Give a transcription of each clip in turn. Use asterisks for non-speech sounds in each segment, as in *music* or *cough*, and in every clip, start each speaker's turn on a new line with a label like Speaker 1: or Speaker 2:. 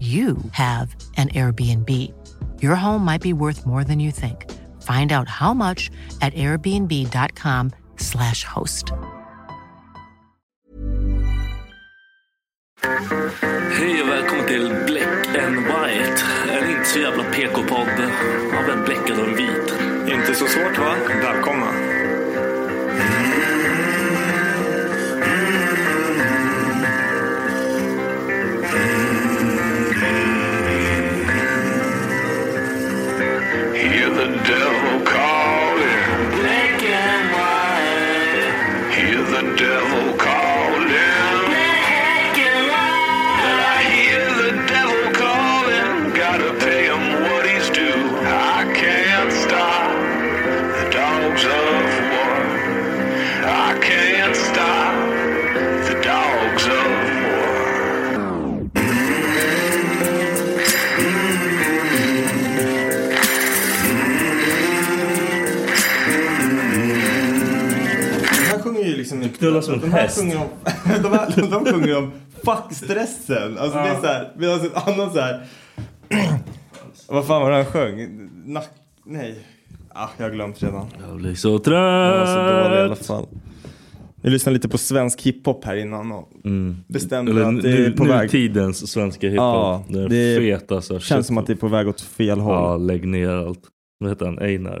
Speaker 1: you have an Airbnb. Your home might be worth more than you think. Find out how much at airbnb.com/slash host.
Speaker 2: Hej och välkommen till Black and White. En inte så jävla PK-podd av en bläckad och en vit.
Speaker 3: Inte så svårt va? Välkomna.
Speaker 4: Hear the devil calling. Black and white. Hear the devil calling. Black and white. I hear the devil calling. Gotta pay him what he's due. I can't stop the dogs of war. I can't stop the dogs of war.
Speaker 3: De här sjunger ju liksom...
Speaker 2: Du knullar som en
Speaker 3: de här
Speaker 2: häst.
Speaker 3: Sjunger om, *laughs* de, här, de sjunger om fuck stressen. Alltså det är så här, vi har sett annan så här... *clears throat* Vad fan var det han sjöng? Nack... Nej. Ah, jag har glömt redan.
Speaker 2: Jag blir så
Speaker 3: Den var så dålig i alla
Speaker 2: trött.
Speaker 3: fall. Vi lyssnade lite på svensk hiphop här innan och bestämde
Speaker 2: Mm. Eller
Speaker 3: att det är
Speaker 2: nu,
Speaker 3: på väg.
Speaker 2: nutidens svenska hiphop.
Speaker 3: Ja,
Speaker 2: den
Speaker 3: det
Speaker 2: feta så här,
Speaker 3: Känns som att det är på väg åt fel håll.
Speaker 2: alltså. Ja,
Speaker 3: Ja,
Speaker 2: lägg ner allt. Vad heter han? Einar?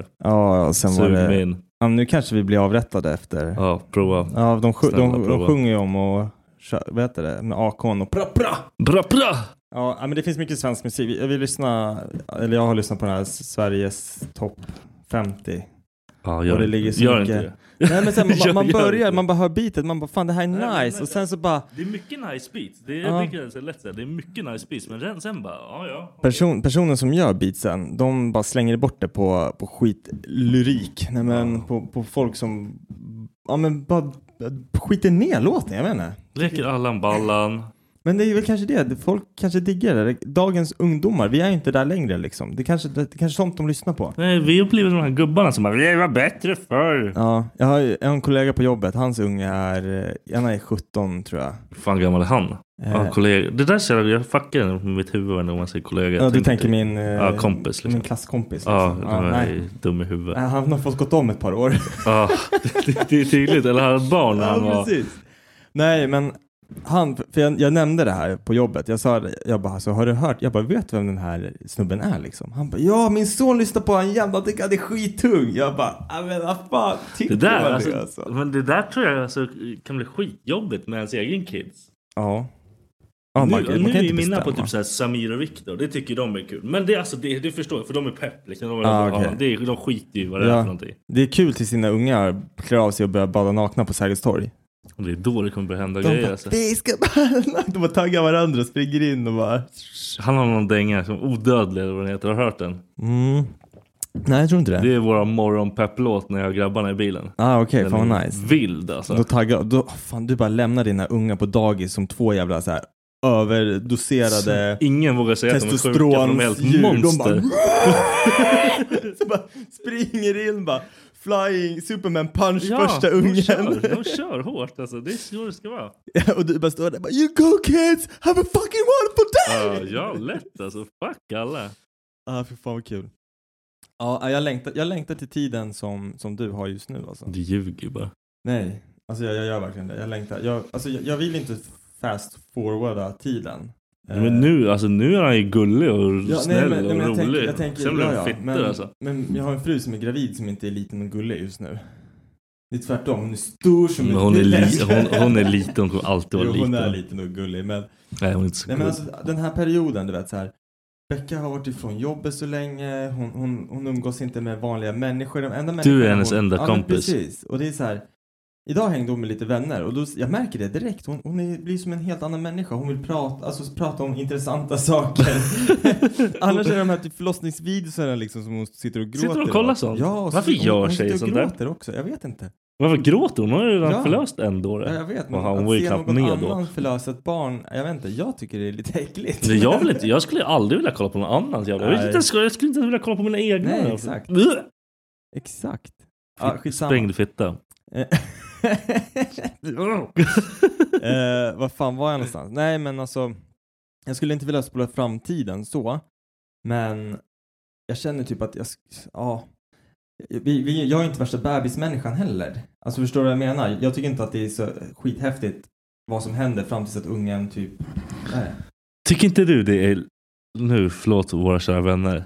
Speaker 3: sen var
Speaker 2: Sug
Speaker 3: det...
Speaker 2: mig in.
Speaker 3: Ja, nu kanske vi blir avrättade efter. Ja,
Speaker 2: Ja, prova.
Speaker 3: de, sju-
Speaker 2: Snälla,
Speaker 3: de, de
Speaker 2: prova.
Speaker 3: sjunger ju om och... kö- Vad heter det? Med AK'n och pra, pra.
Speaker 2: Bra, bra!
Speaker 3: Ja, ja, men det finns mycket svensk musik. Vi, vi lyssnar, eller jag har lyssnat på den här S- Sveriges topp 50.
Speaker 2: Ja, gör,
Speaker 3: Och det
Speaker 2: inte-
Speaker 3: ligger så
Speaker 2: gör
Speaker 3: mycket-
Speaker 2: inte det.
Speaker 3: Nej,
Speaker 2: *laughs*
Speaker 3: men sen, man,
Speaker 2: Jag
Speaker 3: man
Speaker 2: gör
Speaker 3: börjar,
Speaker 2: inte.
Speaker 3: man bara hör beatet, man bara fan det här är
Speaker 2: men-
Speaker 3: nice och sen så bara
Speaker 2: Det är mycket nice beats. Det är,
Speaker 3: Ja.
Speaker 2: jag tycker det är lätt så här. Det är mycket nice beats. Men sen- sen bara, ja ja.
Speaker 3: person, personen som gör beatsen, de bara slänger bort det på, på skitlyrik. Nej men på, på folk som, ja men bara skiter ner låten, jag vet inte.
Speaker 2: Leker Allan Ballan.
Speaker 3: Men det är väl kanske det, folk kanske diggar det. Dagens ungdomar, vi är ju inte där längre liksom. Det kanske, det, det kanske är sånt de lyssnar på.
Speaker 2: Nej, vi har blivit de här gubbarna som bara Det var bättre förr.
Speaker 3: Ja, jag har ju en kollega på jobbet. Hans unge är, eh, han är 17 tror jag.
Speaker 2: Hur fan gammal är han?
Speaker 3: Eh,
Speaker 2: Ja, kollega. Det där ser jag, jag fuckar med mitt huvud varje gång man säger kollega.
Speaker 3: ja,
Speaker 2: Jag
Speaker 3: du tänker min, eh,
Speaker 2: ja, kompis, liksom.
Speaker 3: min klasskompis.
Speaker 2: Ja,
Speaker 3: Liksom.
Speaker 2: de är
Speaker 3: nej.
Speaker 2: dum i huvudet.
Speaker 3: Eh, Han har fått gått om ett par år.
Speaker 2: Ja, det, det är tydligt. Eller han hade ett barn när han
Speaker 3: ja,
Speaker 2: var...
Speaker 3: precis. Nej, men han, för jag, jag nämnde det här på jobbet. Jag sa, det- jag bara, alltså, har du hört? Jag bara, vet vem den här snubben är liksom? Han bara, ja, min son lyssnar på honom jämt. Han tycker han är skittung. Jag bara, ja, men vad fan tycker
Speaker 2: Det där,
Speaker 3: man
Speaker 2: alltså,
Speaker 3: det alltså?
Speaker 2: Men det där tror jag alltså, kan bli skitjobbigt med ens egen kids.
Speaker 3: Ja. Ja, man,
Speaker 2: nu
Speaker 3: kan- man
Speaker 2: nu
Speaker 3: kan
Speaker 2: är
Speaker 3: inte
Speaker 2: mina på
Speaker 3: bestämma.
Speaker 2: typ så här Samir och Viktor. Det tycker de är kul. Men det, alltså, det, det förstår jag, för de är pepp. Liksom. De,
Speaker 3: Ah,
Speaker 2: ah,
Speaker 3: okej.
Speaker 2: ja, det, är- de skiter ju i vad det är
Speaker 3: Ja.
Speaker 2: för någonting.
Speaker 3: Det är kul tills sina ungar klär av sig och börjar bada nakna på Sergels torg.
Speaker 2: Och det är då det kommer börja hända
Speaker 3: De
Speaker 2: grejer.
Speaker 3: bara,
Speaker 2: Alltså.
Speaker 3: "Vi ska bara-" *laughs* de bara taggar varandra och springer in och bara...
Speaker 2: Han har någon dänga som odödlig eller vad den heter. Har du hört den?
Speaker 3: Mm. Nej, jag tror inte det.
Speaker 2: Det är vår morgonpepplåt när jag har grabbarna i bilen.
Speaker 3: Ah, okej.
Speaker 2: Den
Speaker 3: fan vad
Speaker 2: är
Speaker 3: nice.
Speaker 2: Vild
Speaker 3: Då
Speaker 2: alltså.
Speaker 3: taggar, då, fan, du bara lämnar dina unga på dagis som två jävla så här överdoserade
Speaker 2: Ingen vågar säga att de är sjuka för de är helt
Speaker 3: testosteronsdjur. De
Speaker 2: monster.
Speaker 3: bara, *laughs* så bara springer in bara flying Superman punch första
Speaker 2: de
Speaker 3: ungen.
Speaker 2: kör, de
Speaker 3: *laughs*
Speaker 2: kör hårt alltså. Det är så det ska vara.
Speaker 3: och du bara står där bara, you go kids, have a fucking wonderful
Speaker 2: Ja,
Speaker 3: day!
Speaker 2: ja, lätt alltså. Fuck alla.
Speaker 3: Ah, för fan vad kul. Ja, jag längtar, jag längtar till tiden som, som du har just nu alltså.
Speaker 2: Du ljuger ju bara.
Speaker 3: Nej, alltså jag, jag gör verkligen det. Jag längtar. Jag, alltså, jag, jag vill inte fast forwarda tiden. Eh,
Speaker 2: Men nu, alltså, nu är han ju gullig och
Speaker 3: ja, nej,
Speaker 2: snäll
Speaker 3: men- nej, men
Speaker 2: och
Speaker 3: jag tänker-
Speaker 2: rolig.
Speaker 3: jag tänker-
Speaker 2: Sen blir
Speaker 3: ja,
Speaker 2: han
Speaker 3: ja,
Speaker 2: fitter
Speaker 3: men,
Speaker 2: alltså.
Speaker 3: Men jag har en fru som är gravid som inte är liten och gullig just nu. Det är tvärtom. Hon är stor som
Speaker 2: Men
Speaker 3: ett
Speaker 2: hon, är li-
Speaker 3: lillläsk.
Speaker 2: hon, hon är liten, hon kommer alltid vara
Speaker 3: *laughs* Jo,
Speaker 2: liten.
Speaker 3: hon är liten och gullig. Men,
Speaker 2: Nej, hon är inte så
Speaker 3: nej,
Speaker 2: cool.
Speaker 3: men alltså, den här perioden, du vet så här. Becka har varit ifrån jobbet så länge. Hon, hon, hon umgås inte med vanliga människor. De enda människorna
Speaker 2: hennes
Speaker 3: hon,
Speaker 2: enda
Speaker 3: ja, men
Speaker 2: kompis.
Speaker 3: precis. Och det är så här. Idag hängde hon med lite vänner och då, jag märker det direkt. Hon, hon är, blir som en helt annan människa. Hon vill prata, alltså, prata om
Speaker 2: *laughs*
Speaker 3: intressanta saker. Annars är det de här typ förlossningsvideorna liksom som hon sitter och gråter.
Speaker 2: Sitter hon och kollar
Speaker 3: åt.
Speaker 2: sånt?
Speaker 3: Ja, och så-
Speaker 2: Varför gör
Speaker 3: hon, hon
Speaker 2: tjejer
Speaker 3: sitter och
Speaker 2: sånt där?
Speaker 3: gråter också. Jag vet inte.
Speaker 2: Varför gråter hon? Hon har ju redan
Speaker 3: Ja.
Speaker 2: förlöst en
Speaker 3: Ja,
Speaker 2: dåre.
Speaker 3: jag vet, men
Speaker 2: Och han
Speaker 3: att
Speaker 2: var ju
Speaker 3: se
Speaker 2: knappt
Speaker 3: någon
Speaker 2: med då.
Speaker 3: annan förlösa ett barn, jag vet inte, jag tycker det är lite äckligt.
Speaker 2: Nej, jag, vill inte, jag skulle aldrig vilja kolla på någon annans jävla... Jag, vet
Speaker 3: Nej.
Speaker 2: inte, ens- jag skulle inte ens vilja kolla på mina egna.
Speaker 3: Nej, exakt.
Speaker 2: Ugh!
Speaker 3: Exakt. Ja, skitsamma. *laughs*
Speaker 2: Sprängd fitta.
Speaker 3: eh, vad fan var jag någonstans? Nej, men alltså, jag skulle inte vilja spola framtiden så, men jag känner typ att jag, sk- ja, vi, vi, jag är inte värsta bebismänniskan heller. Alltså förstår du vad jag menar? Jag tycker inte att det är så skithäftigt vad som händer fram tills att ungen typ, nej.
Speaker 2: Tycker inte du det är... Nu, förlåt våra kära vänner.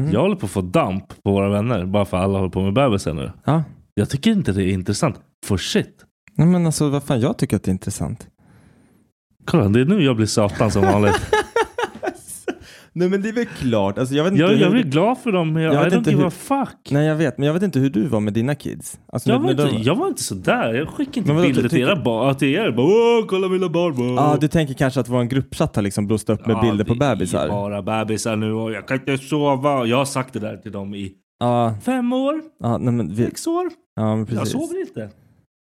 Speaker 3: Mhm.
Speaker 2: Jag håller på att få damp på våra vänner bara för att alla håller på med bebisar nu.
Speaker 3: Ja.
Speaker 2: Jag tycker inte det är intressant. For shit.
Speaker 3: Nej men alltså vad fan, jag tycker att det är intressant.
Speaker 2: Kolla, det är nu jag blir satan som vanligt.
Speaker 3: Nej men det är väl klart, alltså jag vet inte
Speaker 2: jag,
Speaker 3: hur...
Speaker 2: jag blir glad för dem, men jag,
Speaker 3: Jag
Speaker 2: I
Speaker 3: vet
Speaker 2: don't
Speaker 3: inte
Speaker 2: give
Speaker 3: hur-
Speaker 2: a fuck.
Speaker 3: Nej jag vet, men jag vet inte hur du var med dina kids. Alltså,
Speaker 2: Jag
Speaker 3: när-
Speaker 2: var,
Speaker 3: när
Speaker 2: inte,
Speaker 3: de-
Speaker 2: jag var inte sådär. Jag skickade inte
Speaker 3: Men vadå,
Speaker 2: bilder
Speaker 3: ty-
Speaker 2: till
Speaker 3: tycker-
Speaker 2: era barn. Till er. Bara, Åh, kolla mina barn. Wow.
Speaker 3: Ja, ah, du tänker kanske att vår gruppchatt har liksom blåst upp med
Speaker 2: Ja,
Speaker 3: bilder på
Speaker 2: det är
Speaker 3: bebisar? Ja,
Speaker 2: bara bebisar nu och jag kan inte sova. Jag har sagt det där till dem i
Speaker 3: ah,
Speaker 2: fem år,
Speaker 3: ah, nej men vi...
Speaker 2: sex år.
Speaker 3: Ja, men
Speaker 2: Jag
Speaker 3: precis.
Speaker 2: sover inte.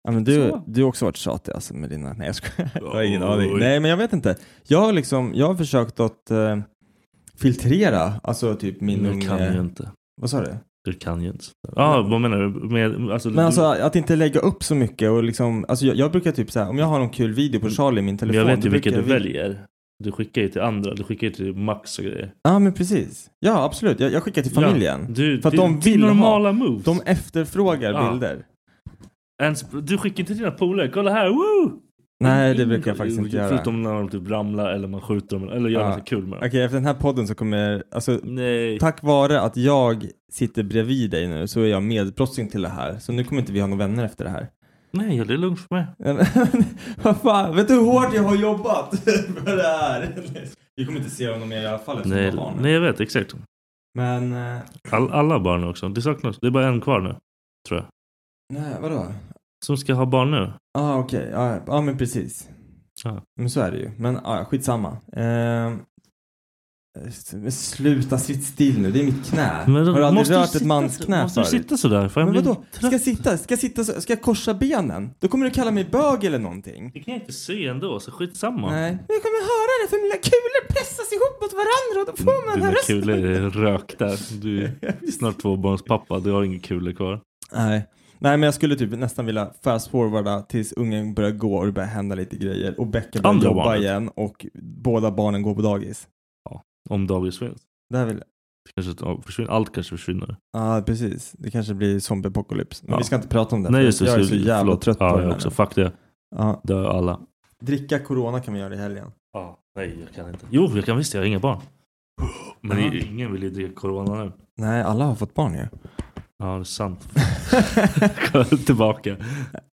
Speaker 3: Ja, men du,
Speaker 2: Så.
Speaker 3: du har också varit tjatig alltså med dina... Nej jag skojar. *laughs* Jag har ingen
Speaker 2: Oj.
Speaker 3: aning. Nej men jag vet inte. Jag har liksom, jag har försökt att eh, filtrera, alltså typ min
Speaker 2: Du kan ju
Speaker 3: unge...
Speaker 2: inte.
Speaker 3: Vad sa du?
Speaker 2: Du kan ju inte. Ja, vad menar du? Med, alltså,
Speaker 3: Men alltså
Speaker 2: du,
Speaker 3: att inte lägga upp så mycket och liksom, alltså jag, jag brukar typ så här, om jag har någon kul video på Charlie i min
Speaker 2: men
Speaker 3: telefon.
Speaker 2: jag vet
Speaker 3: då
Speaker 2: ju vilka
Speaker 3: brukar
Speaker 2: du
Speaker 3: jag-
Speaker 2: väljer. Du skickar ju till andra. Du skickar ju till Max och grejer.
Speaker 3: Ja men precis. Ja absolut, jag, jag skickar till familjen.
Speaker 2: Ja, du,
Speaker 3: För att
Speaker 2: det-
Speaker 3: de
Speaker 2: det är
Speaker 3: vill ha.
Speaker 2: normala moves.
Speaker 3: De efterfrågar
Speaker 2: Ja.
Speaker 3: bilder.
Speaker 2: Ens, du skickar inte till dina polare. Kolla här, woo!
Speaker 3: Nej det brukar jag faktiskt inte göra. Okej
Speaker 2: Förutom när de typ ramlar eller man skjuter dem. Eller gör
Speaker 3: Ja.
Speaker 2: något kul med dem.
Speaker 3: efter den här podden så kommer, alltså
Speaker 2: Nej.
Speaker 3: tack vare att jag sitter bredvid dig nu så är jag medbrottsling till det här. Så nu kommer inte vi ha några vänner efter det här. *laughs*
Speaker 2: Nej, det är lugnt för mig.
Speaker 3: Vad fan, vet du hur hårt jag har jobbat *laughs* för det här? Vi kommer inte se honom mer i alla fall eftersom
Speaker 2: Nej,
Speaker 3: jag har barn.
Speaker 2: nej, jag vet exakt.
Speaker 3: Men, eh,
Speaker 2: All, alla barn också. Det saknas. Det är bara en kvar nu. Tror jag.
Speaker 3: nej vadå?
Speaker 2: Som ska ha barn nu.
Speaker 3: Ja ah, okej, ja ja, men precis.
Speaker 2: Ja.
Speaker 3: Men så är det ju. Men ah, ja, skitsamma. Eh, s- men sluta sitt still nu, det är mitt knä.
Speaker 2: Men då
Speaker 3: Har du aldrig
Speaker 2: måste du
Speaker 3: rört ett
Speaker 2: sitta-
Speaker 3: mans knä
Speaker 2: Måste du
Speaker 3: förut?
Speaker 2: sitta sådär? För jag
Speaker 3: Men
Speaker 2: blir
Speaker 3: vadå? Ska
Speaker 2: trött.
Speaker 3: jag sitta, ska jag sitta så, ska jag korsa benen? Då kommer du kalla mig bög eller någonting.
Speaker 2: Det kan jag inte se ändå, så skitsamma.
Speaker 3: Nej. Men jag kommer höra det för mina kulor pressas ihop mot varandra och då får man den här
Speaker 2: Mm, Dina
Speaker 3: rösten.
Speaker 2: kulor
Speaker 3: *laughs*
Speaker 2: är rökta. Du är snart tvåbarnspappa. Du har inga kulor kvar.
Speaker 3: Nej. Nej men jag skulle typ nästan vilja fast forwarda tills ungen börjar gå och det börjar hända lite grejer och Becka börjar
Speaker 2: Andra
Speaker 3: jobba
Speaker 2: barnet.
Speaker 3: igen och båda barnen går på dagis.
Speaker 2: Om dagis finns.
Speaker 3: Det här vill
Speaker 2: Det Kanske, att- ja, försvinner. Allt kanske försvinner.
Speaker 3: Ja, precis. Det kanske blir zombieapokalyps. Men
Speaker 2: Ja.
Speaker 3: vi ska inte prata om det.
Speaker 2: Nej
Speaker 3: för
Speaker 2: just det.
Speaker 3: jag är så
Speaker 2: skulle-
Speaker 3: jävla
Speaker 2: förlåt.
Speaker 3: trött på
Speaker 2: ja,
Speaker 3: det
Speaker 2: jag
Speaker 3: här
Speaker 2: också.
Speaker 3: nu.
Speaker 2: Fuck det.
Speaker 3: Ja.
Speaker 2: Dö alla.
Speaker 3: Dricka corona kan vi göra i helgen.
Speaker 2: Ja, nej Mm, jag kan inte. Jo jag kan visst, jag har inga *gasps* barn. Men
Speaker 3: Ja.
Speaker 2: det är- ingen vill ju dricka corona nu.
Speaker 3: Nej, alla har fått *laughs* barn ju.
Speaker 2: Ja det är sant. *laughs* Kolla Tillbaka.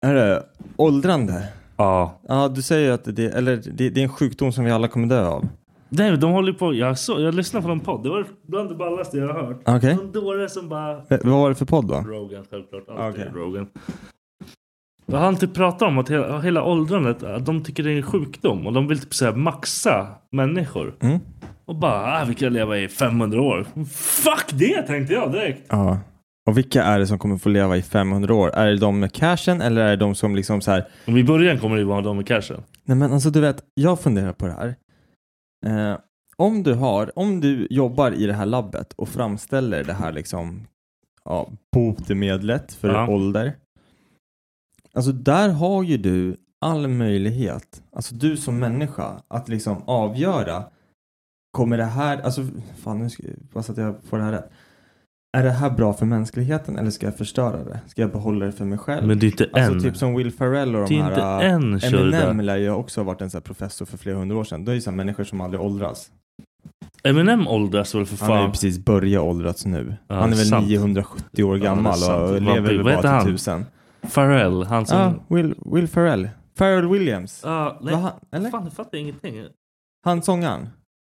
Speaker 3: är det åldrande?
Speaker 2: Ja.
Speaker 3: Ja, du säger att det, eller det, det är en sjukdom som vi alla kommer dö av.
Speaker 2: Nej de håller på. Jag, så, jag lyssnade på någon podd. Det var bland det ballaste jag har hört.
Speaker 3: Okej.
Speaker 2: Någon dåre som bara
Speaker 3: Eh, Vad var det för podd då?
Speaker 2: Rogan självklart. Alltid
Speaker 3: Okej.
Speaker 2: Rogan. Vad han typ pratar om att hela, hela åldrandet, att de tycker det är en sjukdom och de vill typ så här maxa människor.
Speaker 3: Mm.
Speaker 2: Och bara, ah, vi kan leva i 500 år. Fuck det tänkte jag direkt.
Speaker 3: Ja. Och vilka är det som kommer få leva i 500 år? Är det de med cashen eller är det de som liksom så här
Speaker 2: Om i början kommer det ju vara de med cashen.
Speaker 3: Nej men alltså du vet, jag funderar på det här. Eh, om du har, om du jobbar i det här labbet och framställer det här liksom ja, botemedlet för
Speaker 2: Ja.
Speaker 3: ålder. Alltså där har ju du all möjlighet, alltså du som människa, att liksom avgöra. Kommer det här, alltså fan nu ska jag hoppas att jag får det här rätt. Är det här bra för mänskligheten eller ska jag förstöra det? Ska jag behålla det för mig själv?
Speaker 2: Men det är inte
Speaker 3: alltså
Speaker 2: en.
Speaker 3: typ som Will Ferrell och de
Speaker 2: det är
Speaker 3: här.
Speaker 2: inte
Speaker 3: eh,
Speaker 2: en
Speaker 3: Eminem
Speaker 2: körde.
Speaker 3: lär ju också ha varit en så här professor för flera hundra år sedan. Då är det ju så här människor som aldrig åldras.
Speaker 2: Eminem åldras väl för
Speaker 3: Han har ju
Speaker 2: fan.
Speaker 3: precis börjat åldras nu.
Speaker 2: Ja,
Speaker 3: han är väl
Speaker 2: sant.
Speaker 3: 970 år
Speaker 2: Ja, det är
Speaker 3: gammal
Speaker 2: sant.
Speaker 3: och
Speaker 2: Vad-
Speaker 3: lever väl
Speaker 2: vad heter
Speaker 3: bara
Speaker 2: han?
Speaker 3: till tusen.
Speaker 2: Pharrell, han som...
Speaker 3: Ja, Will, Will Ferrell. Pharrell Williams.
Speaker 2: Ah, nej,
Speaker 3: Var han, eller?
Speaker 2: fan, jag fattar ingenting.
Speaker 3: Han sångaren?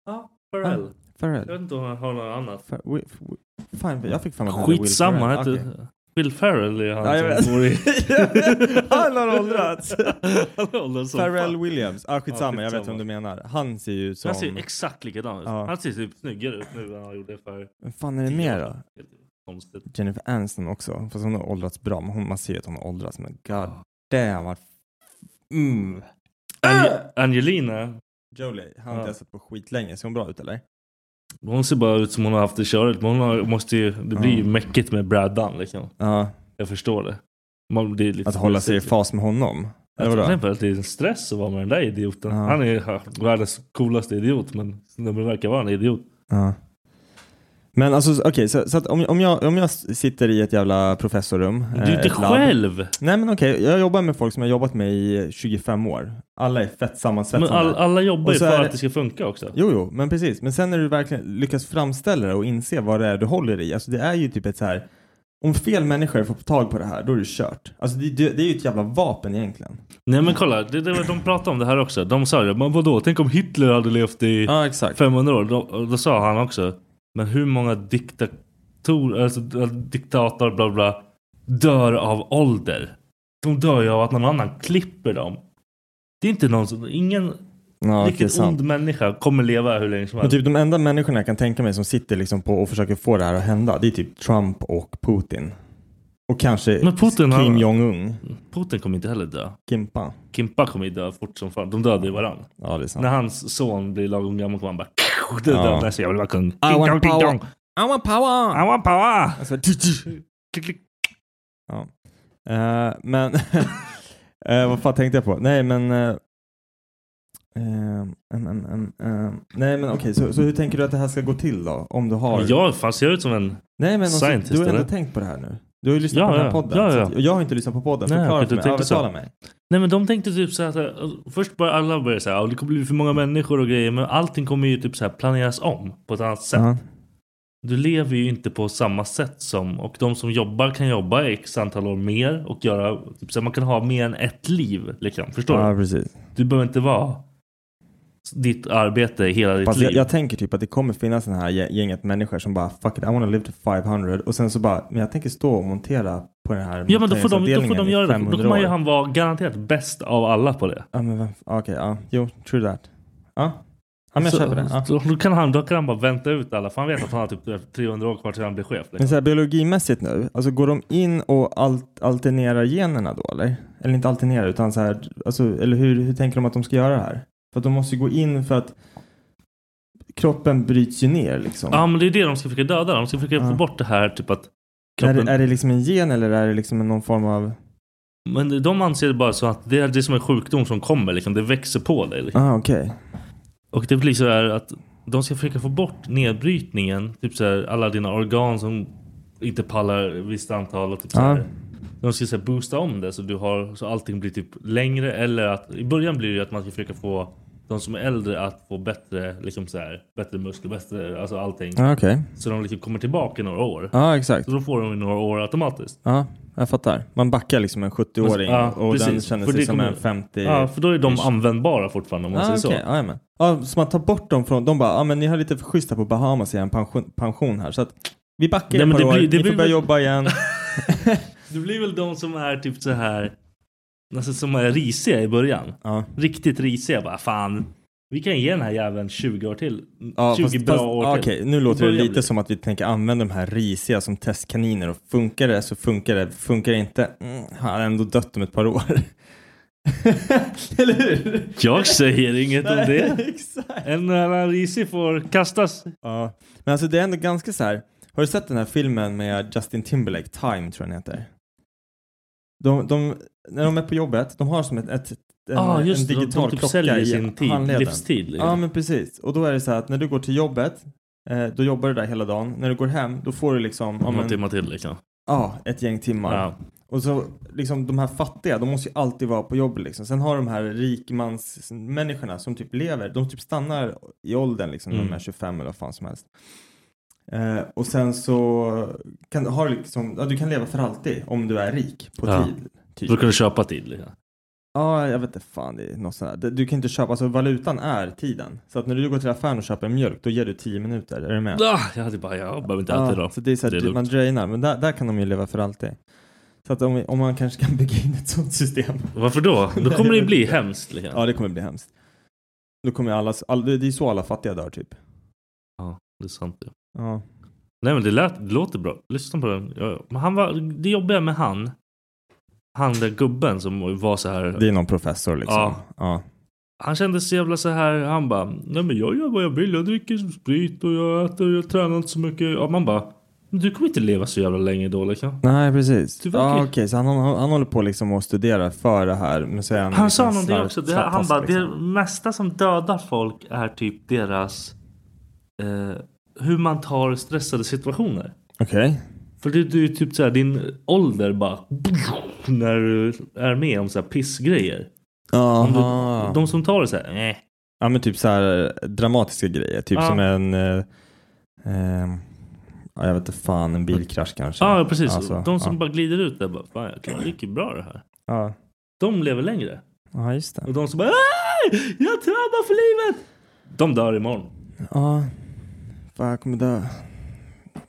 Speaker 2: Ja, Pharrell. Jag
Speaker 3: Pharrell?
Speaker 2: vet inte om han har något annat.
Speaker 3: Fer, Will, Will- fan, jag fick fan att han hette Will
Speaker 2: Skitsamma, han
Speaker 3: Ferrell.
Speaker 2: heter...
Speaker 3: Okej.
Speaker 2: Will Ferrell är han
Speaker 3: Ja, jag
Speaker 2: som bor i...
Speaker 3: vet. *laughs* Han har åldrats.
Speaker 2: *laughs* han har åldrats som
Speaker 3: Pharrell
Speaker 2: fan.
Speaker 3: Williams. Ah, skitsamma, jag vet
Speaker 2: skitsamma.
Speaker 3: vem du menar. Han ser ju ut som...
Speaker 2: Han ser ju exakt likadan ut.
Speaker 3: Ja.
Speaker 2: Han ser typ snyggare ut nu än han gjorde för...
Speaker 3: Vem fan är det mer då?
Speaker 2: Konstigt.
Speaker 3: Jennifer Aniston också, fast hon har åldrats bra. Men hon, man ser ju att hon har åldrats, men god damn vad... Mm.
Speaker 2: Ange- Angelina,
Speaker 3: Jolie, han har
Speaker 2: Ja.
Speaker 3: inte jag sett på skit länge. Ser hon bra ut eller?
Speaker 2: hon ser bara ut som hon har haft det körigt. Men hon har, måste ju... Det blir ju
Speaker 3: Ja.
Speaker 2: mäckigt med brädan liksom.
Speaker 3: Ja,
Speaker 2: Jag förstår det. Man, det är lite
Speaker 3: att hålla sig i fas med honom. Eller vadå?
Speaker 2: Jag tror att det är en stress att vara med den där idioten.
Speaker 3: Ja.
Speaker 2: Han är ha, världens coolaste idiot men snubben verkar vara en idiot.
Speaker 3: Ja. Men alltså okej, så, så att om, om, jag, om jag sitter i ett jävla professorrum.
Speaker 2: Du är
Speaker 3: eh,
Speaker 2: inte
Speaker 3: ett labb.
Speaker 2: själv!
Speaker 3: Nej men okej, jag jobbar med folk som jag jobbat med i 25 år. Alla är fett sammansvetsade.
Speaker 2: Men all, alla jobbar ju
Speaker 3: Och så
Speaker 2: för
Speaker 3: är det-
Speaker 2: att det ska funka också.
Speaker 3: Jo, jo, men precis. Men sen när du verkligen lyckas framställa det och inse vad det är du håller i. Alltså det är ju typ ett så här. Om fel människor får tag på det här, då är det kört. Alltså det, det, det är ju ett jävla vapen egentligen.
Speaker 2: Nej men kolla, det, det, var- de pratade om det här också. De sa det, men vadå? Tänk om Hitler hade levt i
Speaker 3: Ja, exakt.
Speaker 2: 500 år? Då, och då sa han också, men hur många diktatorer, alltså d- diktator bla bla, dör av ålder? De dör ju av att någon annan klipper dem. Det är inte någon som, ingen
Speaker 3: Ja, okej,
Speaker 2: riktigt
Speaker 3: sant.
Speaker 2: ond människa kommer leva hur länge som
Speaker 3: Men
Speaker 2: helst.
Speaker 3: typ de enda människorna jag kan tänka mig som sitter liksom på och försöker få det här att hända, det är typ Trump och Putin. Och kanske
Speaker 2: Men Putin,
Speaker 3: Kim
Speaker 2: han-
Speaker 3: Jong-Un,
Speaker 2: Putin kommer inte heller dö.
Speaker 3: Kimpa.
Speaker 2: Kimpa kommer ju dö fort som fan. De dödar ju varandra.
Speaker 3: Ja, det är sant.
Speaker 2: När hans son blir lagom gammal kommer han bara... Det
Speaker 3: Ja.
Speaker 2: dödar sig. Jag vill vara kung.
Speaker 3: I
Speaker 2: Ding dong,
Speaker 3: want
Speaker 2: ding
Speaker 3: power.
Speaker 2: dong.
Speaker 3: I want power!
Speaker 2: I want power!
Speaker 3: Alltså,
Speaker 2: Klick, klick.
Speaker 3: Eh, men *laughs* eh, vad fan tänkte jag på? Nej men eh, ehm, em, em, em, em. Nej men okej, så, så hur tänker du att det här ska gå till då? Om du har...
Speaker 2: Men Jag fan ser ut som en...
Speaker 3: Nej men alltså,
Speaker 2: Scientist,
Speaker 3: du har ändå
Speaker 2: eller?
Speaker 3: tänkt på det här nu. Du har ju lyssnat
Speaker 2: Ja,
Speaker 3: på den här
Speaker 2: ja.
Speaker 3: podden.
Speaker 2: Ja, ja.
Speaker 3: Så att, och jag har inte lyssnat på podden.
Speaker 2: Nej,
Speaker 3: Förklara
Speaker 2: okej, du
Speaker 3: för mig.
Speaker 2: tänkte så.
Speaker 3: Övertala mig.
Speaker 2: Nej men de tänkte typ så här... så här- Först började alla börja säga att det kommer bli för många människor och grejer. Men allting kommer ju typ så här planeras om på ett annat sätt.
Speaker 3: Ja.
Speaker 2: Du lever ju inte på samma sätt som... Och de som jobbar kan jobba x antal år mer. Och göra... Typ så här, man kan ha mer än ett liv. Liksom. Förstår du?
Speaker 3: ja, precis.
Speaker 2: Du behöver inte vara ditt arbete hela ditt
Speaker 3: Fast
Speaker 2: liv.
Speaker 3: jag, jag tänker typ att det kommer finnas den här gä- gänget människor som bara fuck it, I wanna live to 500 och sen så bara, men jag tänker stå och montera på den här
Speaker 2: ja men då får de, då får
Speaker 3: monteringsavdelningen
Speaker 2: de
Speaker 3: i
Speaker 2: göra det. Då
Speaker 3: 500
Speaker 2: kommer ju
Speaker 3: år.
Speaker 2: han vara garanterat bäst av alla på det.
Speaker 3: Ja men vem- okej, ja. Jo, true that. Ja. Ja men jag
Speaker 2: Så-
Speaker 3: köper det. Ja.
Speaker 2: så då, kan han, då kan han bara vänta ut alla. För han vet att han har typ 300 år kvar till han blir chef.
Speaker 3: Men
Speaker 2: Liksom.
Speaker 3: så här, biologimässigt nu, alltså går de in och alt alternerar generna då eller? Eller inte alternera utan så här, alltså, eller hur, hur tänker de att de ska göra det här? För att de måste ju gå in för att kroppen bryts ju ner liksom.
Speaker 2: Ja men det är det de ska försöka döda. De ska försöka
Speaker 3: Ja.
Speaker 2: få bort det här typ att
Speaker 3: är,
Speaker 2: kroppen...
Speaker 3: det, är det liksom en gen eller är det liksom någon form av...
Speaker 2: Men de anser det bara så att det är det som en sjukdom som kommer. Liksom. Det växer på dig. Liksom.
Speaker 3: Ah, okej.
Speaker 2: Och det blir så här att de ska försöka få bort nedbrytningen. Typ så här, alla dina organ som inte pallar ett visst antal. Och typ så
Speaker 3: Ja.
Speaker 2: här, de ska så här, boosta om det så, du har, så allting blir typ längre. Eller att i början blir det ju att man ska försöka få de som är äldre att få bättre, liksom så här, bättre muskler, bättre, alltså allting.
Speaker 3: Ja, Ah, okej.
Speaker 2: Så de liksom kommer tillbaka i några år.
Speaker 3: Ja, exakt.
Speaker 2: Så då får de i några år automatiskt.
Speaker 3: Ja, jag fattar. Man backar liksom en 70-åring
Speaker 2: Ja,
Speaker 3: och den
Speaker 2: precis.
Speaker 3: känner
Speaker 2: För
Speaker 3: sig
Speaker 2: det
Speaker 3: som
Speaker 2: kommer-
Speaker 3: en 50...
Speaker 2: Ja, för då är de
Speaker 3: ish.
Speaker 2: användbara fortfarande om man
Speaker 3: Ah,
Speaker 2: säger
Speaker 3: okej.
Speaker 2: så.
Speaker 3: Ja, jajamän. ja, så man tar bort dem från, de bara, ja ah, men ni har lite för schyssta på Bahamas i en pension, pension här så att vi backar
Speaker 2: Nej,
Speaker 3: ett
Speaker 2: men
Speaker 3: par
Speaker 2: det *laughs*
Speaker 3: år,
Speaker 2: blir- det
Speaker 3: ni får
Speaker 2: blir
Speaker 3: börja
Speaker 2: väl-
Speaker 3: jobba igen.
Speaker 2: Det blir väl de som är typ så här Alltså som är risiga i början.
Speaker 3: Ja.
Speaker 2: Riktigt risiga bara, fan. Vi kan ge den här jäveln 20 år till.
Speaker 3: Ja,
Speaker 2: 20
Speaker 3: Ah, fast-
Speaker 2: bra
Speaker 3: fast-
Speaker 2: år
Speaker 3: ja,
Speaker 2: till.
Speaker 3: Okej, nu låter det
Speaker 2: Börjar
Speaker 3: lite
Speaker 2: bli.
Speaker 3: som att vi tänker använda de här risiga som testkaniner och funkar det så funkar det, funkar det inte, mm, har ändå dött om ett par år. *laughs* Eller hur?
Speaker 2: Jag säger inget om det.
Speaker 3: *laughs* Exakt.
Speaker 2: *laughs* En annan risig får kastas.
Speaker 3: Ja. Men alltså det är ändå ganska så här, har du sett den här filmen med Justin Timberlake, Time tror jag den heter? De, de, när de är på jobbet, de har som ett, ett en,
Speaker 2: Ja, ah,
Speaker 3: en
Speaker 2: just det. De,
Speaker 3: digital
Speaker 2: de typ
Speaker 3: klocka
Speaker 2: säljer
Speaker 3: i
Speaker 2: sin tid,
Speaker 3: handleden.
Speaker 2: livstid. Liksom.
Speaker 3: Ja men precis. Och då är det så här att när du går till jobbet, eh, då jobbar du där hela dagen. När du går hem, då får du liksom ja,
Speaker 2: Några
Speaker 3: men,
Speaker 2: timmar till liksom.
Speaker 3: ja, ett gäng timmar.
Speaker 2: Ja.
Speaker 3: Och så liksom de här fattiga, de måste ju alltid vara på jobbet liksom. Sen har de här rikmansmänniskorna som typ lever, de typ stannar i åldern liksom när de
Speaker 2: Mm.
Speaker 3: är 25 eller vad fan som helst. Eh, och sen så kan, har du liksom, ja, du kan leva för alltid om du är rik på
Speaker 2: Ja.
Speaker 3: tid. Typ.
Speaker 2: Då kan du köpa tid. Liksom.
Speaker 3: Ja, jag vet inte fan. Det är något sånt här. Det- Du kan inte köpa, alltså valutan är tiden. Så att när du går till affären och köper en mjölk, då ger du 10 minuter. Är du med?
Speaker 2: Ah, jag hade bara, jag behöver inte äta
Speaker 3: Ja,
Speaker 2: idag.
Speaker 3: så det är så här,
Speaker 2: Det är
Speaker 3: du-
Speaker 2: lugnt.
Speaker 3: man drainar. Men där, där kan de ju leva för alltid. Så att om, vi- om man kanske kan bygga in ett sånt system.
Speaker 2: Varför då? Då kommer det ju bli hemskt. Liksom.
Speaker 3: Ja, det kommer bli hemskt. Då kommer ju alla, all, det det är så alla fattiga dör typ.
Speaker 2: Det är sant. Ja.
Speaker 3: Ja.
Speaker 2: Nej men det, lät, det låter bra. Lyssna på den. Ja, ja. Men han var, det jobbiga med han. Han den gubben som var så här.
Speaker 3: Det är någon professor liksom.
Speaker 2: Ja.
Speaker 3: ja.
Speaker 2: Han kände sig jävla så här. Han bara. Nej men jag gör vad jag vill. Jag dricker sprit och jag äter. Jag tränar inte så mycket. Ja, man bara. Men du kommer inte leva så jävla länge då liksom.
Speaker 3: Nej, precis.
Speaker 2: Du
Speaker 3: Ja,
Speaker 2: verkar-
Speaker 3: Okej, så han, han, han håller på liksom att studera för det här. Men så är han,
Speaker 2: Han sa
Speaker 3: liksom
Speaker 2: någonting
Speaker 3: slarv-
Speaker 2: också. Det, han
Speaker 3: slarvtask,
Speaker 2: bara.
Speaker 3: liksom.
Speaker 2: Det mesta som dödar folk är typ deras. Eh, hur man tar stressade situationer.
Speaker 3: Okej.
Speaker 2: För det, det är ju typ såhär din ålder bara när du är med om så här pissgrejer. Om du,
Speaker 3: Aha.
Speaker 2: de som tar det "Äh." såhär, nej.
Speaker 3: Ja men typ så här eh, dramatiska grejer. Typ
Speaker 2: Ja.
Speaker 3: som en... Eh, eh, ja, jag vet inte fan, en bilkrasch kanske.
Speaker 2: Ja precis,
Speaker 3: Alltså,
Speaker 2: de som
Speaker 3: ja.
Speaker 2: bara glider ut där bara, fan jag klarar- det gick ju bra det här.
Speaker 3: Ja.
Speaker 2: De lever längre.
Speaker 3: ja, just det.
Speaker 2: Och de som bara, "Aj, jag tränar för livet. De dör imorgon.
Speaker 3: Ja. Fan, jag kommer dö.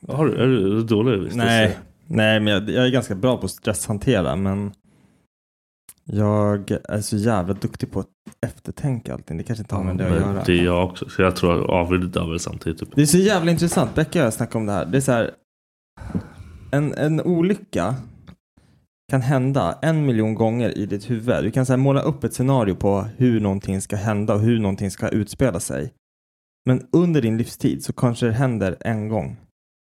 Speaker 2: Har du, är du dålig? Visst?
Speaker 3: Nej, nej men jag, jag är ganska bra på att stresshantera men jag är så jävla duktig på att eftertänka allting. Det kanske inte har med det att göra.
Speaker 2: Det är jag också, så jag tror jag avundas väl samtidigt. Typ.
Speaker 3: Det är så jävla intressant. Becka och jag snackade om det här. Det är så här. En, en olycka kan hända en miljon gånger i ditt huvud. Du kan så här, måla upp ett scenario på hur någonting ska hända och hur någonting ska utspela sig. Men under din livstid så kanske det händer en gång.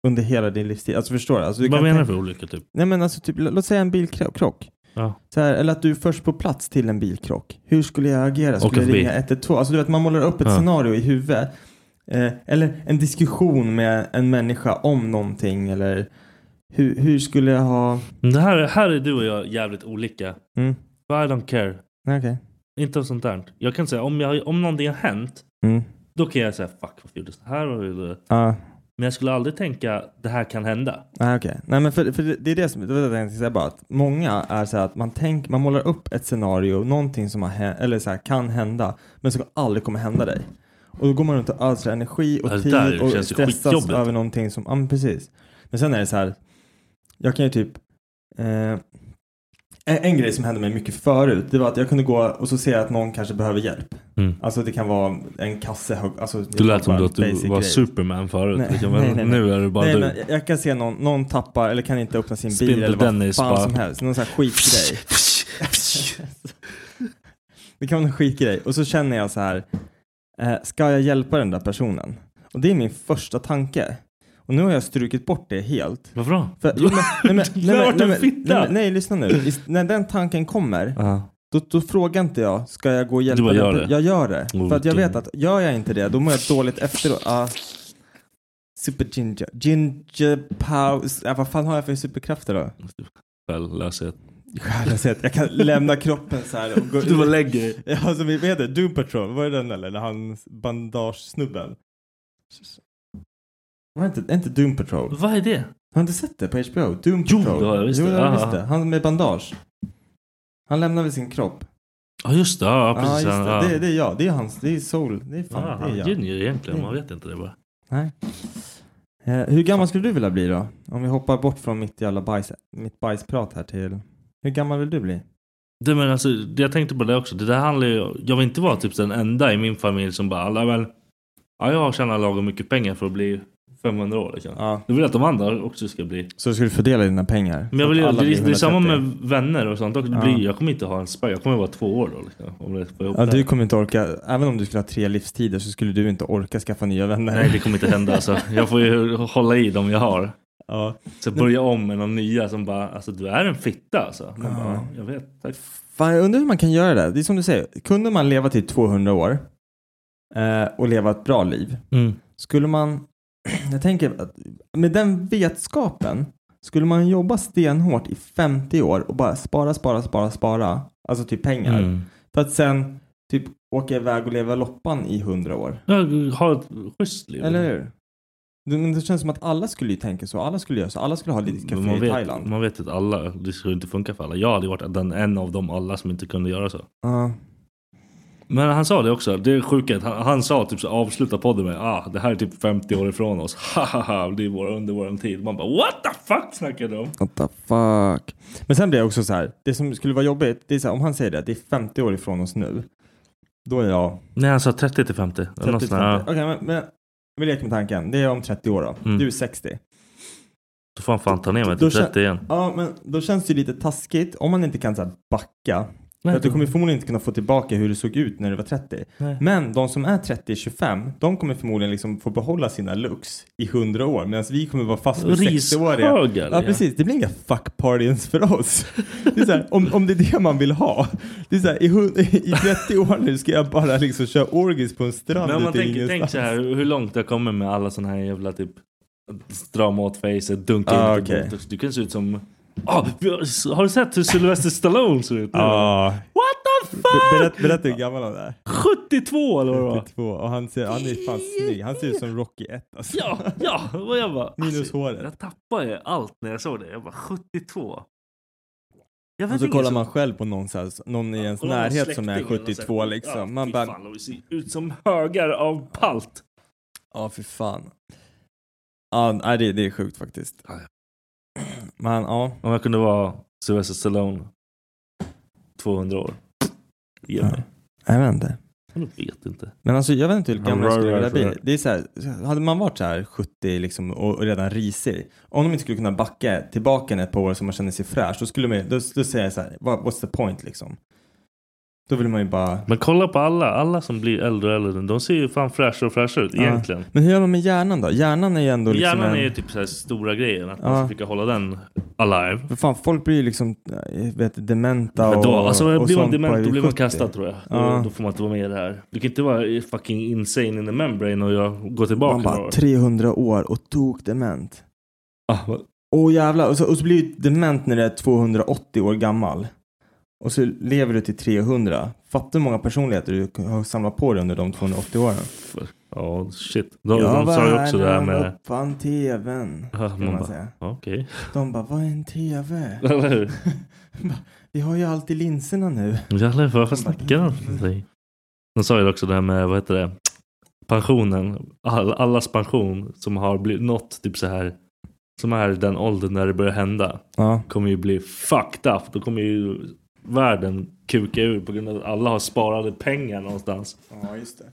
Speaker 3: Under hela din livstid. Alltså förstår du? Alltså, du
Speaker 2: Vad
Speaker 3: kan
Speaker 2: menar du
Speaker 3: tänka-
Speaker 2: för olycka typ?
Speaker 3: Nej men alltså typ, lå- låt säga en bilkrock.
Speaker 2: Ja.
Speaker 3: Så här, eller att du är först på plats till en bilkrock. Hur skulle jag agera? Skulle jag
Speaker 2: förbi.
Speaker 3: ringa 112? Alltså du vet, man målar upp ett
Speaker 2: Ja.
Speaker 3: scenario i huvudet. Eh, eller en diskussion med en människa om någonting eller hur, hur skulle jag ha...
Speaker 2: Men Det här, här är du och jag jävligt olika.
Speaker 3: Mm,
Speaker 2: But I don't care.
Speaker 3: nej, okej.
Speaker 2: Inte om sånt där. Jag kan säga om, jag, om någonting har hänt.
Speaker 3: Mm, Ah.
Speaker 2: Då kan jag säga fuck varför gjordes det här? Varför gjorde det?
Speaker 3: ja.
Speaker 2: Men jag skulle aldrig tänka det här kan hända.
Speaker 3: Nej okej. Nej men för, för det- det är det som, det var det jag tänkte säga bara att många är så här att man tänk, man målar upp ett scenario, någonting som har hänt, eller så här, kan hända, men som aldrig kommer hända dig. Och då går man runt och ödslar energi och
Speaker 2: Ja, det
Speaker 3: tid
Speaker 2: där
Speaker 3: och
Speaker 2: känns ju
Speaker 3: stressas
Speaker 2: skitjobbigt.
Speaker 3: över någonting som, ja men precis. Men sen är det så här, jag kan ju typ, eh, en, en grej som hände mig mycket förut, det var att jag kunde gå och så ser jag att någon kanske behöver hjälp.
Speaker 2: Mm.
Speaker 3: Alltså det kan vara en kasse hög, alltså,
Speaker 2: Du lät som
Speaker 3: bara
Speaker 2: att du
Speaker 3: basic
Speaker 2: var
Speaker 3: grej.
Speaker 2: Superman förut.
Speaker 3: Nej,
Speaker 2: liksom. Men
Speaker 3: nej, nej, nej.
Speaker 2: Nu är du bara
Speaker 3: Nej,
Speaker 2: du.
Speaker 3: men jag- jag kan se någon, någon tappar eller kan inte öppna sin bil
Speaker 2: Spindel
Speaker 3: eller vad
Speaker 2: Dennis
Speaker 3: fan
Speaker 2: bara.
Speaker 3: som helst. Någon sån här
Speaker 2: *laughs*
Speaker 3: skitgrej. det kan vara en skitgrej. Och så känner jag så här, eh, ska jag hjälpa den där personen? Och det är min första tanke. Och nu har jag strukit bort det helt.
Speaker 2: Varför då?
Speaker 3: För, jo, men, nej, men,
Speaker 2: *laughs* Du har
Speaker 3: nej,
Speaker 2: varit en
Speaker 3: men, nej, men, nej,
Speaker 2: fitta.
Speaker 3: men, nej, lyssna nu. Is- när den tanken kommer,
Speaker 2: Ja.
Speaker 3: då, då frågar inte jag, ska jag gå och hjälpa
Speaker 2: Du bara
Speaker 3: den
Speaker 2: gör
Speaker 3: per-
Speaker 2: det.
Speaker 3: Jag gör det.
Speaker 2: Oh,
Speaker 3: för att jag
Speaker 2: vilken-
Speaker 3: vet att gör jag inte det, då mår jag dåligt efteråt. Ah. Super ginger. Ginger pause. Ah, vad fan har jag för superkrafter då? *laughs*
Speaker 2: Självlöshet.
Speaker 3: Själlöshet. Jag kan lämna kroppen så här och gå
Speaker 2: Du bara lägger dig.
Speaker 3: *laughs* Ja, som vi vet det. Doom Patrol. Var det den eller? När han bandagesnubben. Var det inte, är inte Doom Patrol?
Speaker 2: Vad är det?
Speaker 3: Har du inte sett det på HBO? Doom
Speaker 2: Jo,
Speaker 3: Patrol.
Speaker 2: det har jag visst
Speaker 3: Jo,
Speaker 2: det.
Speaker 3: jag har
Speaker 2: Ah.
Speaker 3: visst det. Han med bandage. Han lämnar väl sin kropp.
Speaker 2: Ja just det. Ja
Speaker 3: Ja,
Speaker 2: precis.
Speaker 3: just det.
Speaker 2: Ja. Ah,
Speaker 3: Det, det är jag. Det är hans. Det är Soul. Det är fan,
Speaker 2: Ja,
Speaker 3: det Mm.
Speaker 2: han
Speaker 3: är jag.
Speaker 2: Junior egentligen. Man vet inte det bara.
Speaker 3: Eh, hur gammal skulle du vilja bli då? Om vi hoppar bort från mitt jävla bajs, mitt bajsprat här till... Hur gammal vill du bli?
Speaker 2: Det, men alltså, det- jag tänkte på det också. Det där handlar ju, jag vill inte vara typ den enda i min familj som bara, alla väl, ja, jag har tjänat lagom mycket pengar för att bli 500 år. Liksom.
Speaker 3: Ja.
Speaker 2: Jag vill att de andra också ska bli.
Speaker 3: Så du skulle fördela dina pengar?
Speaker 2: Men jag vill,
Speaker 3: Så
Speaker 2: ju-
Speaker 3: att alla
Speaker 2: det,
Speaker 3: blir
Speaker 2: är- det är samma
Speaker 3: 130.
Speaker 2: med vänner och sånt. också. Det
Speaker 3: Ja.
Speaker 2: blir, jag kommer inte ha en spärr. Jag kommer vara två år då. Liksom, om det får ihop
Speaker 3: Ja,
Speaker 2: det.
Speaker 3: du kommer inte orka, även om du skulle ha tre livstider så skulle du inte orka skaffa nya vänner.
Speaker 2: Nej, det kommer inte hända. Alltså. Jag får ju hålla i dem jag har.
Speaker 3: Ja.
Speaker 2: Så börja om med någon nya som bara, alltså du är en fitta alltså. Man
Speaker 3: Ja.
Speaker 2: bara, jag vet, tack.
Speaker 3: Fan, jag undrar hur man kan göra det. Det är som du säger, kunde man leva till 200 år eh, och leva ett bra liv, skulle man, *clears throat* jag tänker att med den vetskapen, skulle man jobba stenhårt i 50 år och bara spara, spara, spara, spara, alltså typ pengar,
Speaker 2: Mm.
Speaker 3: för att sen typ åka iväg och leva loppan i 100 år.
Speaker 2: Jag har ett schysst liv.
Speaker 3: Eller hur? Det, men det känns som att alla skulle ju tänka så, alla skulle göra så, alla skulle ha lite
Speaker 2: Mm, Men
Speaker 3: café i
Speaker 2: vet,
Speaker 3: Thailand.
Speaker 2: Man vet att alla, det skulle inte funka för alla. Jag hade varit den, en av dem alla som inte kunde göra så.
Speaker 3: Ja.
Speaker 2: Men han sa det också, det är sjukt. Han, han sa typ så avsluta podden med ah, det här är typ 50 år ifrån oss. *laughs* Hahaha, det är vår, under vår tid. Man bara what the fuck snackar du om?
Speaker 3: What the fuck? Men sen blir jag också så här, det som skulle vara jobbigt, det är så här, om han säger det, det är 50 år ifrån oss nu. Då är jag
Speaker 2: Nej han sa 30 till 50.
Speaker 3: 30, 50.
Speaker 2: 30
Speaker 3: Okej, men, men vi leker med tanken. Det är om 30 år då.
Speaker 2: Mm.
Speaker 3: Du är 60.
Speaker 2: Då får han fan ta ner mig
Speaker 3: Då
Speaker 2: till
Speaker 3: kän-
Speaker 2: 30 igen.
Speaker 3: Ja, men då känns det ju lite taskigt om man inte kan så här, backa.
Speaker 2: Nej,
Speaker 3: för att du kommer förmodligen inte kunna få tillbaka hur det såg ut när du var 30.
Speaker 2: Nej.
Speaker 3: Men de som är 30-25, de kommer förmodligen liksom få behålla sina looks i 100 år. Medan vi kommer vara fast vid 60-åriga.
Speaker 2: Rishögar.
Speaker 3: Ja, precis. Det blir inga fuck parties för oss. Det är så här, om, om det är det man vill ha. Det är så här, i, hun- I 30 år nu ska jag bara liksom köra orgies på en strand
Speaker 2: Men om man
Speaker 3: ute i
Speaker 2: tänker, tänk
Speaker 3: ingenstans.
Speaker 2: så här, hur långt det kommer med alla såna här jävla typ strama åt facet, dunka
Speaker 3: Ah,
Speaker 2: in lite
Speaker 3: okej.
Speaker 2: botox. Du kan se ut som... Ah, vi har- har du sett hur Sylvester Stallone ser ut? nu?
Speaker 3: Ja.
Speaker 2: What the
Speaker 3: Ah. Be-
Speaker 2: fuck!
Speaker 3: Berätta, berätta hur gammal han är.
Speaker 2: 72 eller vad det var?
Speaker 3: 32. Och han, ser, han är fan snygg. Han ser ut som Rocky 1 alltså.
Speaker 2: Ja, ja. Och jag bara,
Speaker 3: Minus
Speaker 2: alltså,
Speaker 3: håret.
Speaker 2: Jag tappade ju allt när jag såg det. Jag bara 72. Jag
Speaker 3: Och så
Speaker 2: ingen
Speaker 3: kollar
Speaker 2: som-
Speaker 3: man själv på någon, så här, någon i ens
Speaker 2: kollar man
Speaker 3: närhet som är
Speaker 2: släkting eller något så här-
Speaker 3: 72
Speaker 2: Ja,
Speaker 3: liksom. Man
Speaker 2: fy
Speaker 3: bara,
Speaker 2: Fan, de ser ut som högar av palt.
Speaker 3: ja för fan. Ja, nej, det, det är sjukt faktiskt.
Speaker 2: Ja, ja.
Speaker 3: Men ja.
Speaker 2: Om jag kunde vara Sylvester Stallone 200 år. Ge mig.
Speaker 3: Jag vet inte.
Speaker 2: Jag vet inte.
Speaker 3: Men alltså jag vet inte hur
Speaker 2: Han
Speaker 3: gammal jag skulle
Speaker 2: rör
Speaker 3: vilja
Speaker 2: sig
Speaker 3: bli.
Speaker 2: där.
Speaker 3: Det är så här, hade man varit så här 70 liksom och, och redan risig. Om de inte skulle kunna backa tillbaka ett par år så man känner sig fräsch. Då skulle man ju- då, då säger jag så här, "What- what's the point liksom? Då vill man ju bara.
Speaker 2: Men kolla på alla. Alla som blir äldre och äldre. De ser ju fan fräschare och fräschare ut
Speaker 3: Ja.
Speaker 2: egentligen.
Speaker 3: Men hur gör man med hjärnan då? Hjärnan är ju ändå liksom
Speaker 2: Hjärnan
Speaker 3: en,
Speaker 2: är ju typ så här stora grejen. Att man
Speaker 3: Ja.
Speaker 2: ska försöka hålla den alive.
Speaker 3: För fan folk blir ju liksom, eh, vet dementa
Speaker 2: Men
Speaker 3: och
Speaker 2: då, alltså,
Speaker 3: och
Speaker 2: blir man
Speaker 3: sånt bara
Speaker 2: dement då
Speaker 3: vid
Speaker 2: blir man
Speaker 3: 70.
Speaker 2: kastad tror jag.
Speaker 3: Ja.
Speaker 2: Då, då får man inte vara med i det här. Du kan inte vara fucking insane in the membrane och jag gå tillbaka
Speaker 3: Man
Speaker 2: några
Speaker 3: bara
Speaker 2: år.
Speaker 3: 300 år och tok dement.
Speaker 2: Ah, vad-
Speaker 3: Åh jävlar, och så, och så blir du dement när du är 280 år gammal. Och så lever du till 300. Fattar hur många personligheter du har samlat på dig under de 280 åren.
Speaker 2: Ja, shit. De, de sa ju också det här med...
Speaker 3: Fan tvn.
Speaker 2: Ja,
Speaker 3: Kan
Speaker 2: man
Speaker 3: man
Speaker 2: bara-
Speaker 3: säga.
Speaker 2: Ja, Okej. *laughs*
Speaker 3: De bara, vad är en tv?
Speaker 2: Eller hur?
Speaker 3: *laughs* Vi har ju alltid linserna nu.
Speaker 2: Jävlar, varför snackar de för någonting? De sa ju också det här med, vad heter det? Pensionen. All, allas pension som har blivit nått typ så här. Som är den åldern när det börjar hända.
Speaker 3: Ja.
Speaker 2: Kommer ju bli fucked up. Då kommer ju världen kuka ur på grund av att alla har sparade pengar någonstans.
Speaker 3: Ja, just det.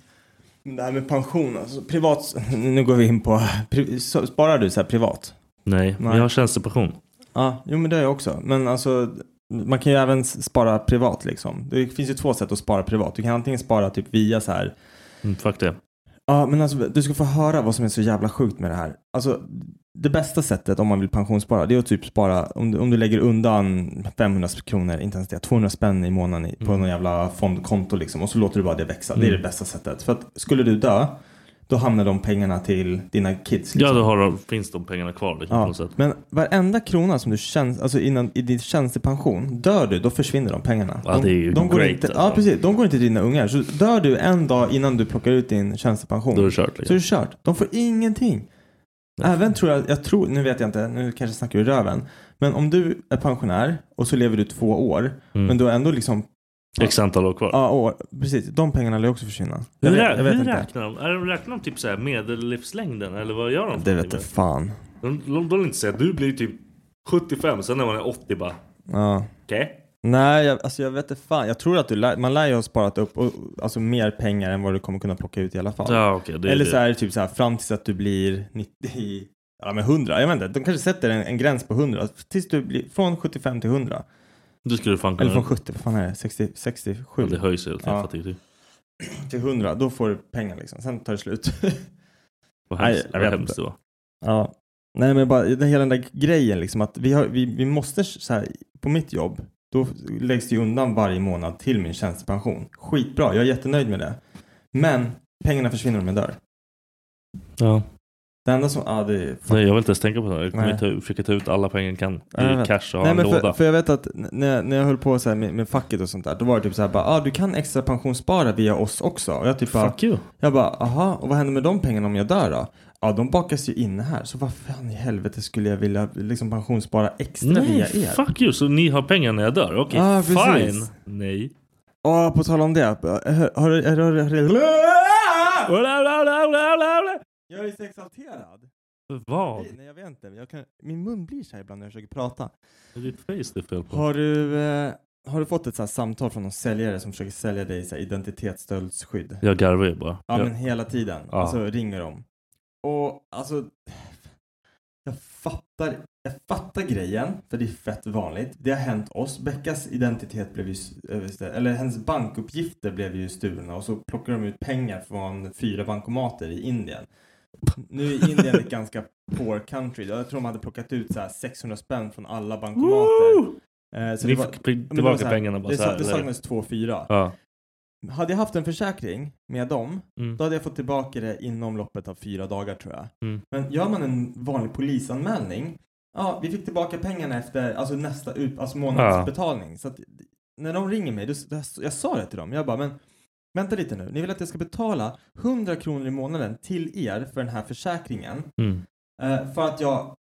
Speaker 3: Men Det här med pension, alltså privat. *laughs* Nu går vi in på, pri- så- sparar du så här privat?
Speaker 2: Nej,
Speaker 3: Nej.
Speaker 2: jag har tjänstepension.
Speaker 3: Ja, jo men det har jag också. Men alltså, man kan ju även s- spara privat liksom. Det finns ju två sätt att spara privat. Du kan antingen spara typ via så här.
Speaker 2: Mm, fuck det.
Speaker 3: Ja, men alltså du ska få höra vad som är så jävla sjukt med det här. Alltså, det bästa sättet om man vill pensionsspara, det är att typ spara, om du, om du lägger undan 500 kronor, inte ens det, 200 spänn i månaden i- på
Speaker 2: Mm.
Speaker 3: någon jävla fondkonto liksom. Och så låter du bara det växa. Det är
Speaker 2: Mm.
Speaker 3: det bästa sättet. För att skulle du dö, då hamnar de pengarna till dina kids.
Speaker 2: Ja,
Speaker 3: Liksom.
Speaker 2: då har, finns de pengarna kvar liksom, på
Speaker 3: Ja,
Speaker 2: något sätt.
Speaker 3: men varenda krona som du tjäns- alltså innan, i din tjänstepension, dör du då försvinner de pengarna.
Speaker 2: Ja, det är ju
Speaker 3: de, de går
Speaker 2: great,
Speaker 3: inte,
Speaker 2: alltså.
Speaker 3: Ja, precis. De går inte till dina ungar. Så dör du en dag innan du plockar ut din tjänstepension,
Speaker 2: Då är det kört.
Speaker 3: så är
Speaker 2: Liksom.
Speaker 3: det kört. De får ingenting. Även tror jag, jag tror, nu vet jag inte, nu kanske jag snackar ur röven. Men om du är pensionär och så lever du två år,
Speaker 2: Mm.
Speaker 3: men du har ändå liksom,
Speaker 2: X antal år kvar.
Speaker 3: ja, år, precis. De pengarna lär ju också försvinna.
Speaker 2: Hur,
Speaker 3: Jag vet,
Speaker 2: rä-
Speaker 3: jag vet
Speaker 2: hur
Speaker 3: inte.
Speaker 2: räknar de? Är de räknar de typ så här medellivslängden? Eller vad gör de? för
Speaker 3: Det
Speaker 2: någonting
Speaker 3: vet jag fan.
Speaker 2: med det? De, de, de vill inte säga du blir typ 75, sen när man är 80 bara
Speaker 3: Ja.
Speaker 2: okej.
Speaker 3: Nej, jag, alltså jag vet inte fan. Jag tror att du lär, man lär ju ha sparat upp och, alltså mer pengar än vad du kommer kunna plocka ut i alla fall.
Speaker 2: Ja, okej. det är
Speaker 3: Eller
Speaker 2: det.
Speaker 3: så är det typ så här fram tills att du blir 90, ja men 100, jag vet inte, de kanske sätter en, en gräns på 100, tills du blir från 75 till 100.
Speaker 2: Du skulle fan kunna...
Speaker 3: Eller från 70, vad fan är det, 60, 67
Speaker 2: Mm. Ja, det höjs ju. helt.
Speaker 3: Ja.
Speaker 2: Jag fattar inte.
Speaker 3: till 100, då får du pengar liksom, sen tar det slut. *laughs*
Speaker 2: Vad
Speaker 3: Nej,
Speaker 2: hemskt,
Speaker 3: jag
Speaker 2: vad
Speaker 3: vet
Speaker 2: hemskt det var.
Speaker 3: ja. Nej men bara den, hela den där grejen liksom att vi, har, vi, vi måste så här, på mitt jobb, då läggs det ju undan varje månad till min tjänstepension. Skitbra, jag är jättenöjd med det. Men pengarna försvinner om jag dör.
Speaker 2: Ja.
Speaker 3: Det enda som, ja det är
Speaker 2: Nej, jag vill inte ens tänka på det. här. Jag kommer
Speaker 3: Nej.
Speaker 2: ta, försöka ta ut alla pengar jag kan
Speaker 3: Nej,
Speaker 2: i
Speaker 3: men-
Speaker 2: cash och ha
Speaker 3: Nej,
Speaker 2: en
Speaker 3: men för,
Speaker 2: låda.
Speaker 3: för jag vet att n- när, när jag höll på så här med, med facket och sånt där, då var det typ så här bara, ah, du kan extra pensionsspara via oss också. Och jag typ bara,
Speaker 2: Fuck you.
Speaker 3: jag bara, aha, och vad händer med de pengarna om jag dör då? Ja, de bakas ju in här, så vad fan i helvete skulle jag vilja liksom pensionsspara extra via
Speaker 2: Nej,
Speaker 3: er?
Speaker 2: fuck you. Så ni har pengar när jag dör? Okej,
Speaker 3: Ah,
Speaker 2: fine.
Speaker 3: precis.
Speaker 2: Nej.
Speaker 3: Ja, på tal om det. Har, har, har, har,
Speaker 2: *laughs*
Speaker 3: har, jag är så exalterad.
Speaker 2: Vad?
Speaker 3: Nej, jag vet inte. Jag kan, min mun blir så här ibland när jag försöker prata.
Speaker 2: Det är ditt face det är fel på.
Speaker 3: Har du, eh, har du fått ett så här samtal från någon säljare som försöker sälja dig så här identitetsstöldskydd?
Speaker 2: Jag garvar ju bara.
Speaker 3: Ja,
Speaker 2: Jag-
Speaker 3: men hela tiden.
Speaker 2: Ja.
Speaker 3: Och så ringer de. Och alltså, jag fattar, jag fattar grejen, för det är fett vanligt. Det har hänt oss. Beckas identitet blev ju, s- överst- eller hennes bankuppgifter blev ju stulna och så plockar de ut pengar från fyra bankomater i Indien. Nu är Indien ett ganska poor country. Jag tror de hade plockat ut så här 600 spänn från alla bankomater.
Speaker 2: Woo!
Speaker 3: Eh, så
Speaker 2: Ni
Speaker 3: det var,
Speaker 2: fick
Speaker 3: men det var
Speaker 2: tillbaka
Speaker 3: så här-
Speaker 2: pengarna bara
Speaker 3: det,
Speaker 2: så
Speaker 3: sa-
Speaker 2: här,
Speaker 3: det
Speaker 2: eller?
Speaker 3: saknades 2-4.
Speaker 2: Ja.
Speaker 3: Hade jag haft en försäkring med dem,
Speaker 2: Mm.
Speaker 3: då hade jag fått tillbaka det inom loppet av fyra dagar tror jag.
Speaker 2: Mm.
Speaker 3: Men gör man en vanlig polisanmälning, ja, vi fick tillbaka pengarna efter alltså nästa ut, alltså månadsbetalning. Så att, när de ringer mig, då, då, jag sa det till dem, jag bara, men vänta lite nu, ni vill att jag ska betala 100 kronor i månaden till er för den här försäkringen.
Speaker 2: Mm.
Speaker 3: Eh, för att jag,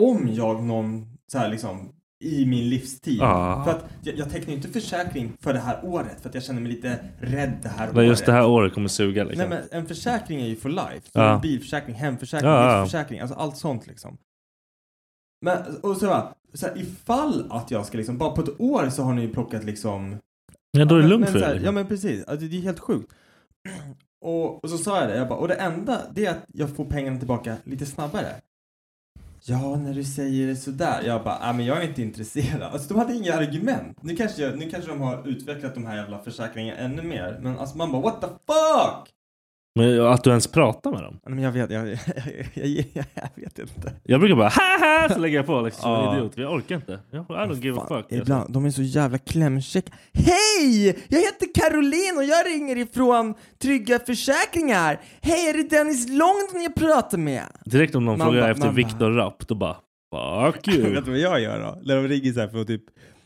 Speaker 3: om jag någon, så här liksom, i min livstid.
Speaker 2: Ah.
Speaker 3: För att jag, jag tecknar ju inte försäkring för det här året för att jag känner mig lite rädd det här
Speaker 2: Nej,
Speaker 3: året.
Speaker 2: just det här året kommer suga liksom.
Speaker 3: Nej men en försäkring är ju for life. Så
Speaker 2: Ja.
Speaker 3: en bilförsäkring, hemförsäkring,
Speaker 2: Ja, ja.
Speaker 3: livförsäkring, alltså allt sånt liksom. Men, och så bara, så här, ifall att jag ska liksom, bara på ett år så har ni ju plockat liksom
Speaker 2: ja, då är det
Speaker 3: men-
Speaker 2: lugnt
Speaker 3: men
Speaker 2: för
Speaker 3: så
Speaker 2: er.
Speaker 3: här, Ja
Speaker 2: liksom.
Speaker 3: men precis, alltså, det är helt sjukt. Och, och så sa jag det, jag bara, och det enda det är att jag får pengarna tillbaka lite snabbare. Ja, när du säger det sådär. Jag bara, nej men jag är inte intresserad. Alltså de hade inga argument. Nu kanske, jag, nu kanske de har utvecklat de här jävla försäkringarna ännu mer. Men alltså man bara, what the fuck?
Speaker 2: Men att du ens pratar med dem.
Speaker 3: Nej men jag vet, jag, jag, jag, jag, jag vet inte.
Speaker 2: Jag brukar bara *laughs* haha så lägger jag på liksom, som en
Speaker 3: Ja.
Speaker 2: idiot. Jag orkar inte. Jag, I don't give a
Speaker 3: Fan,
Speaker 2: fuck. Alltså.
Speaker 3: ibland, de är så jävla klämkäcka. Hej! Jag heter Caroline och jag ringer ifrån Trygga Försäkringar. Hej, är det Dennis Långden jag pratar med?
Speaker 2: Direkt om någon
Speaker 3: Man
Speaker 2: frågar
Speaker 3: bara-
Speaker 2: efter
Speaker 3: man bara-
Speaker 2: Viktor Rapp, då bara fuck
Speaker 3: Vet
Speaker 2: you.
Speaker 3: du vad *laughs* jag gör då? När de ringer så här från typ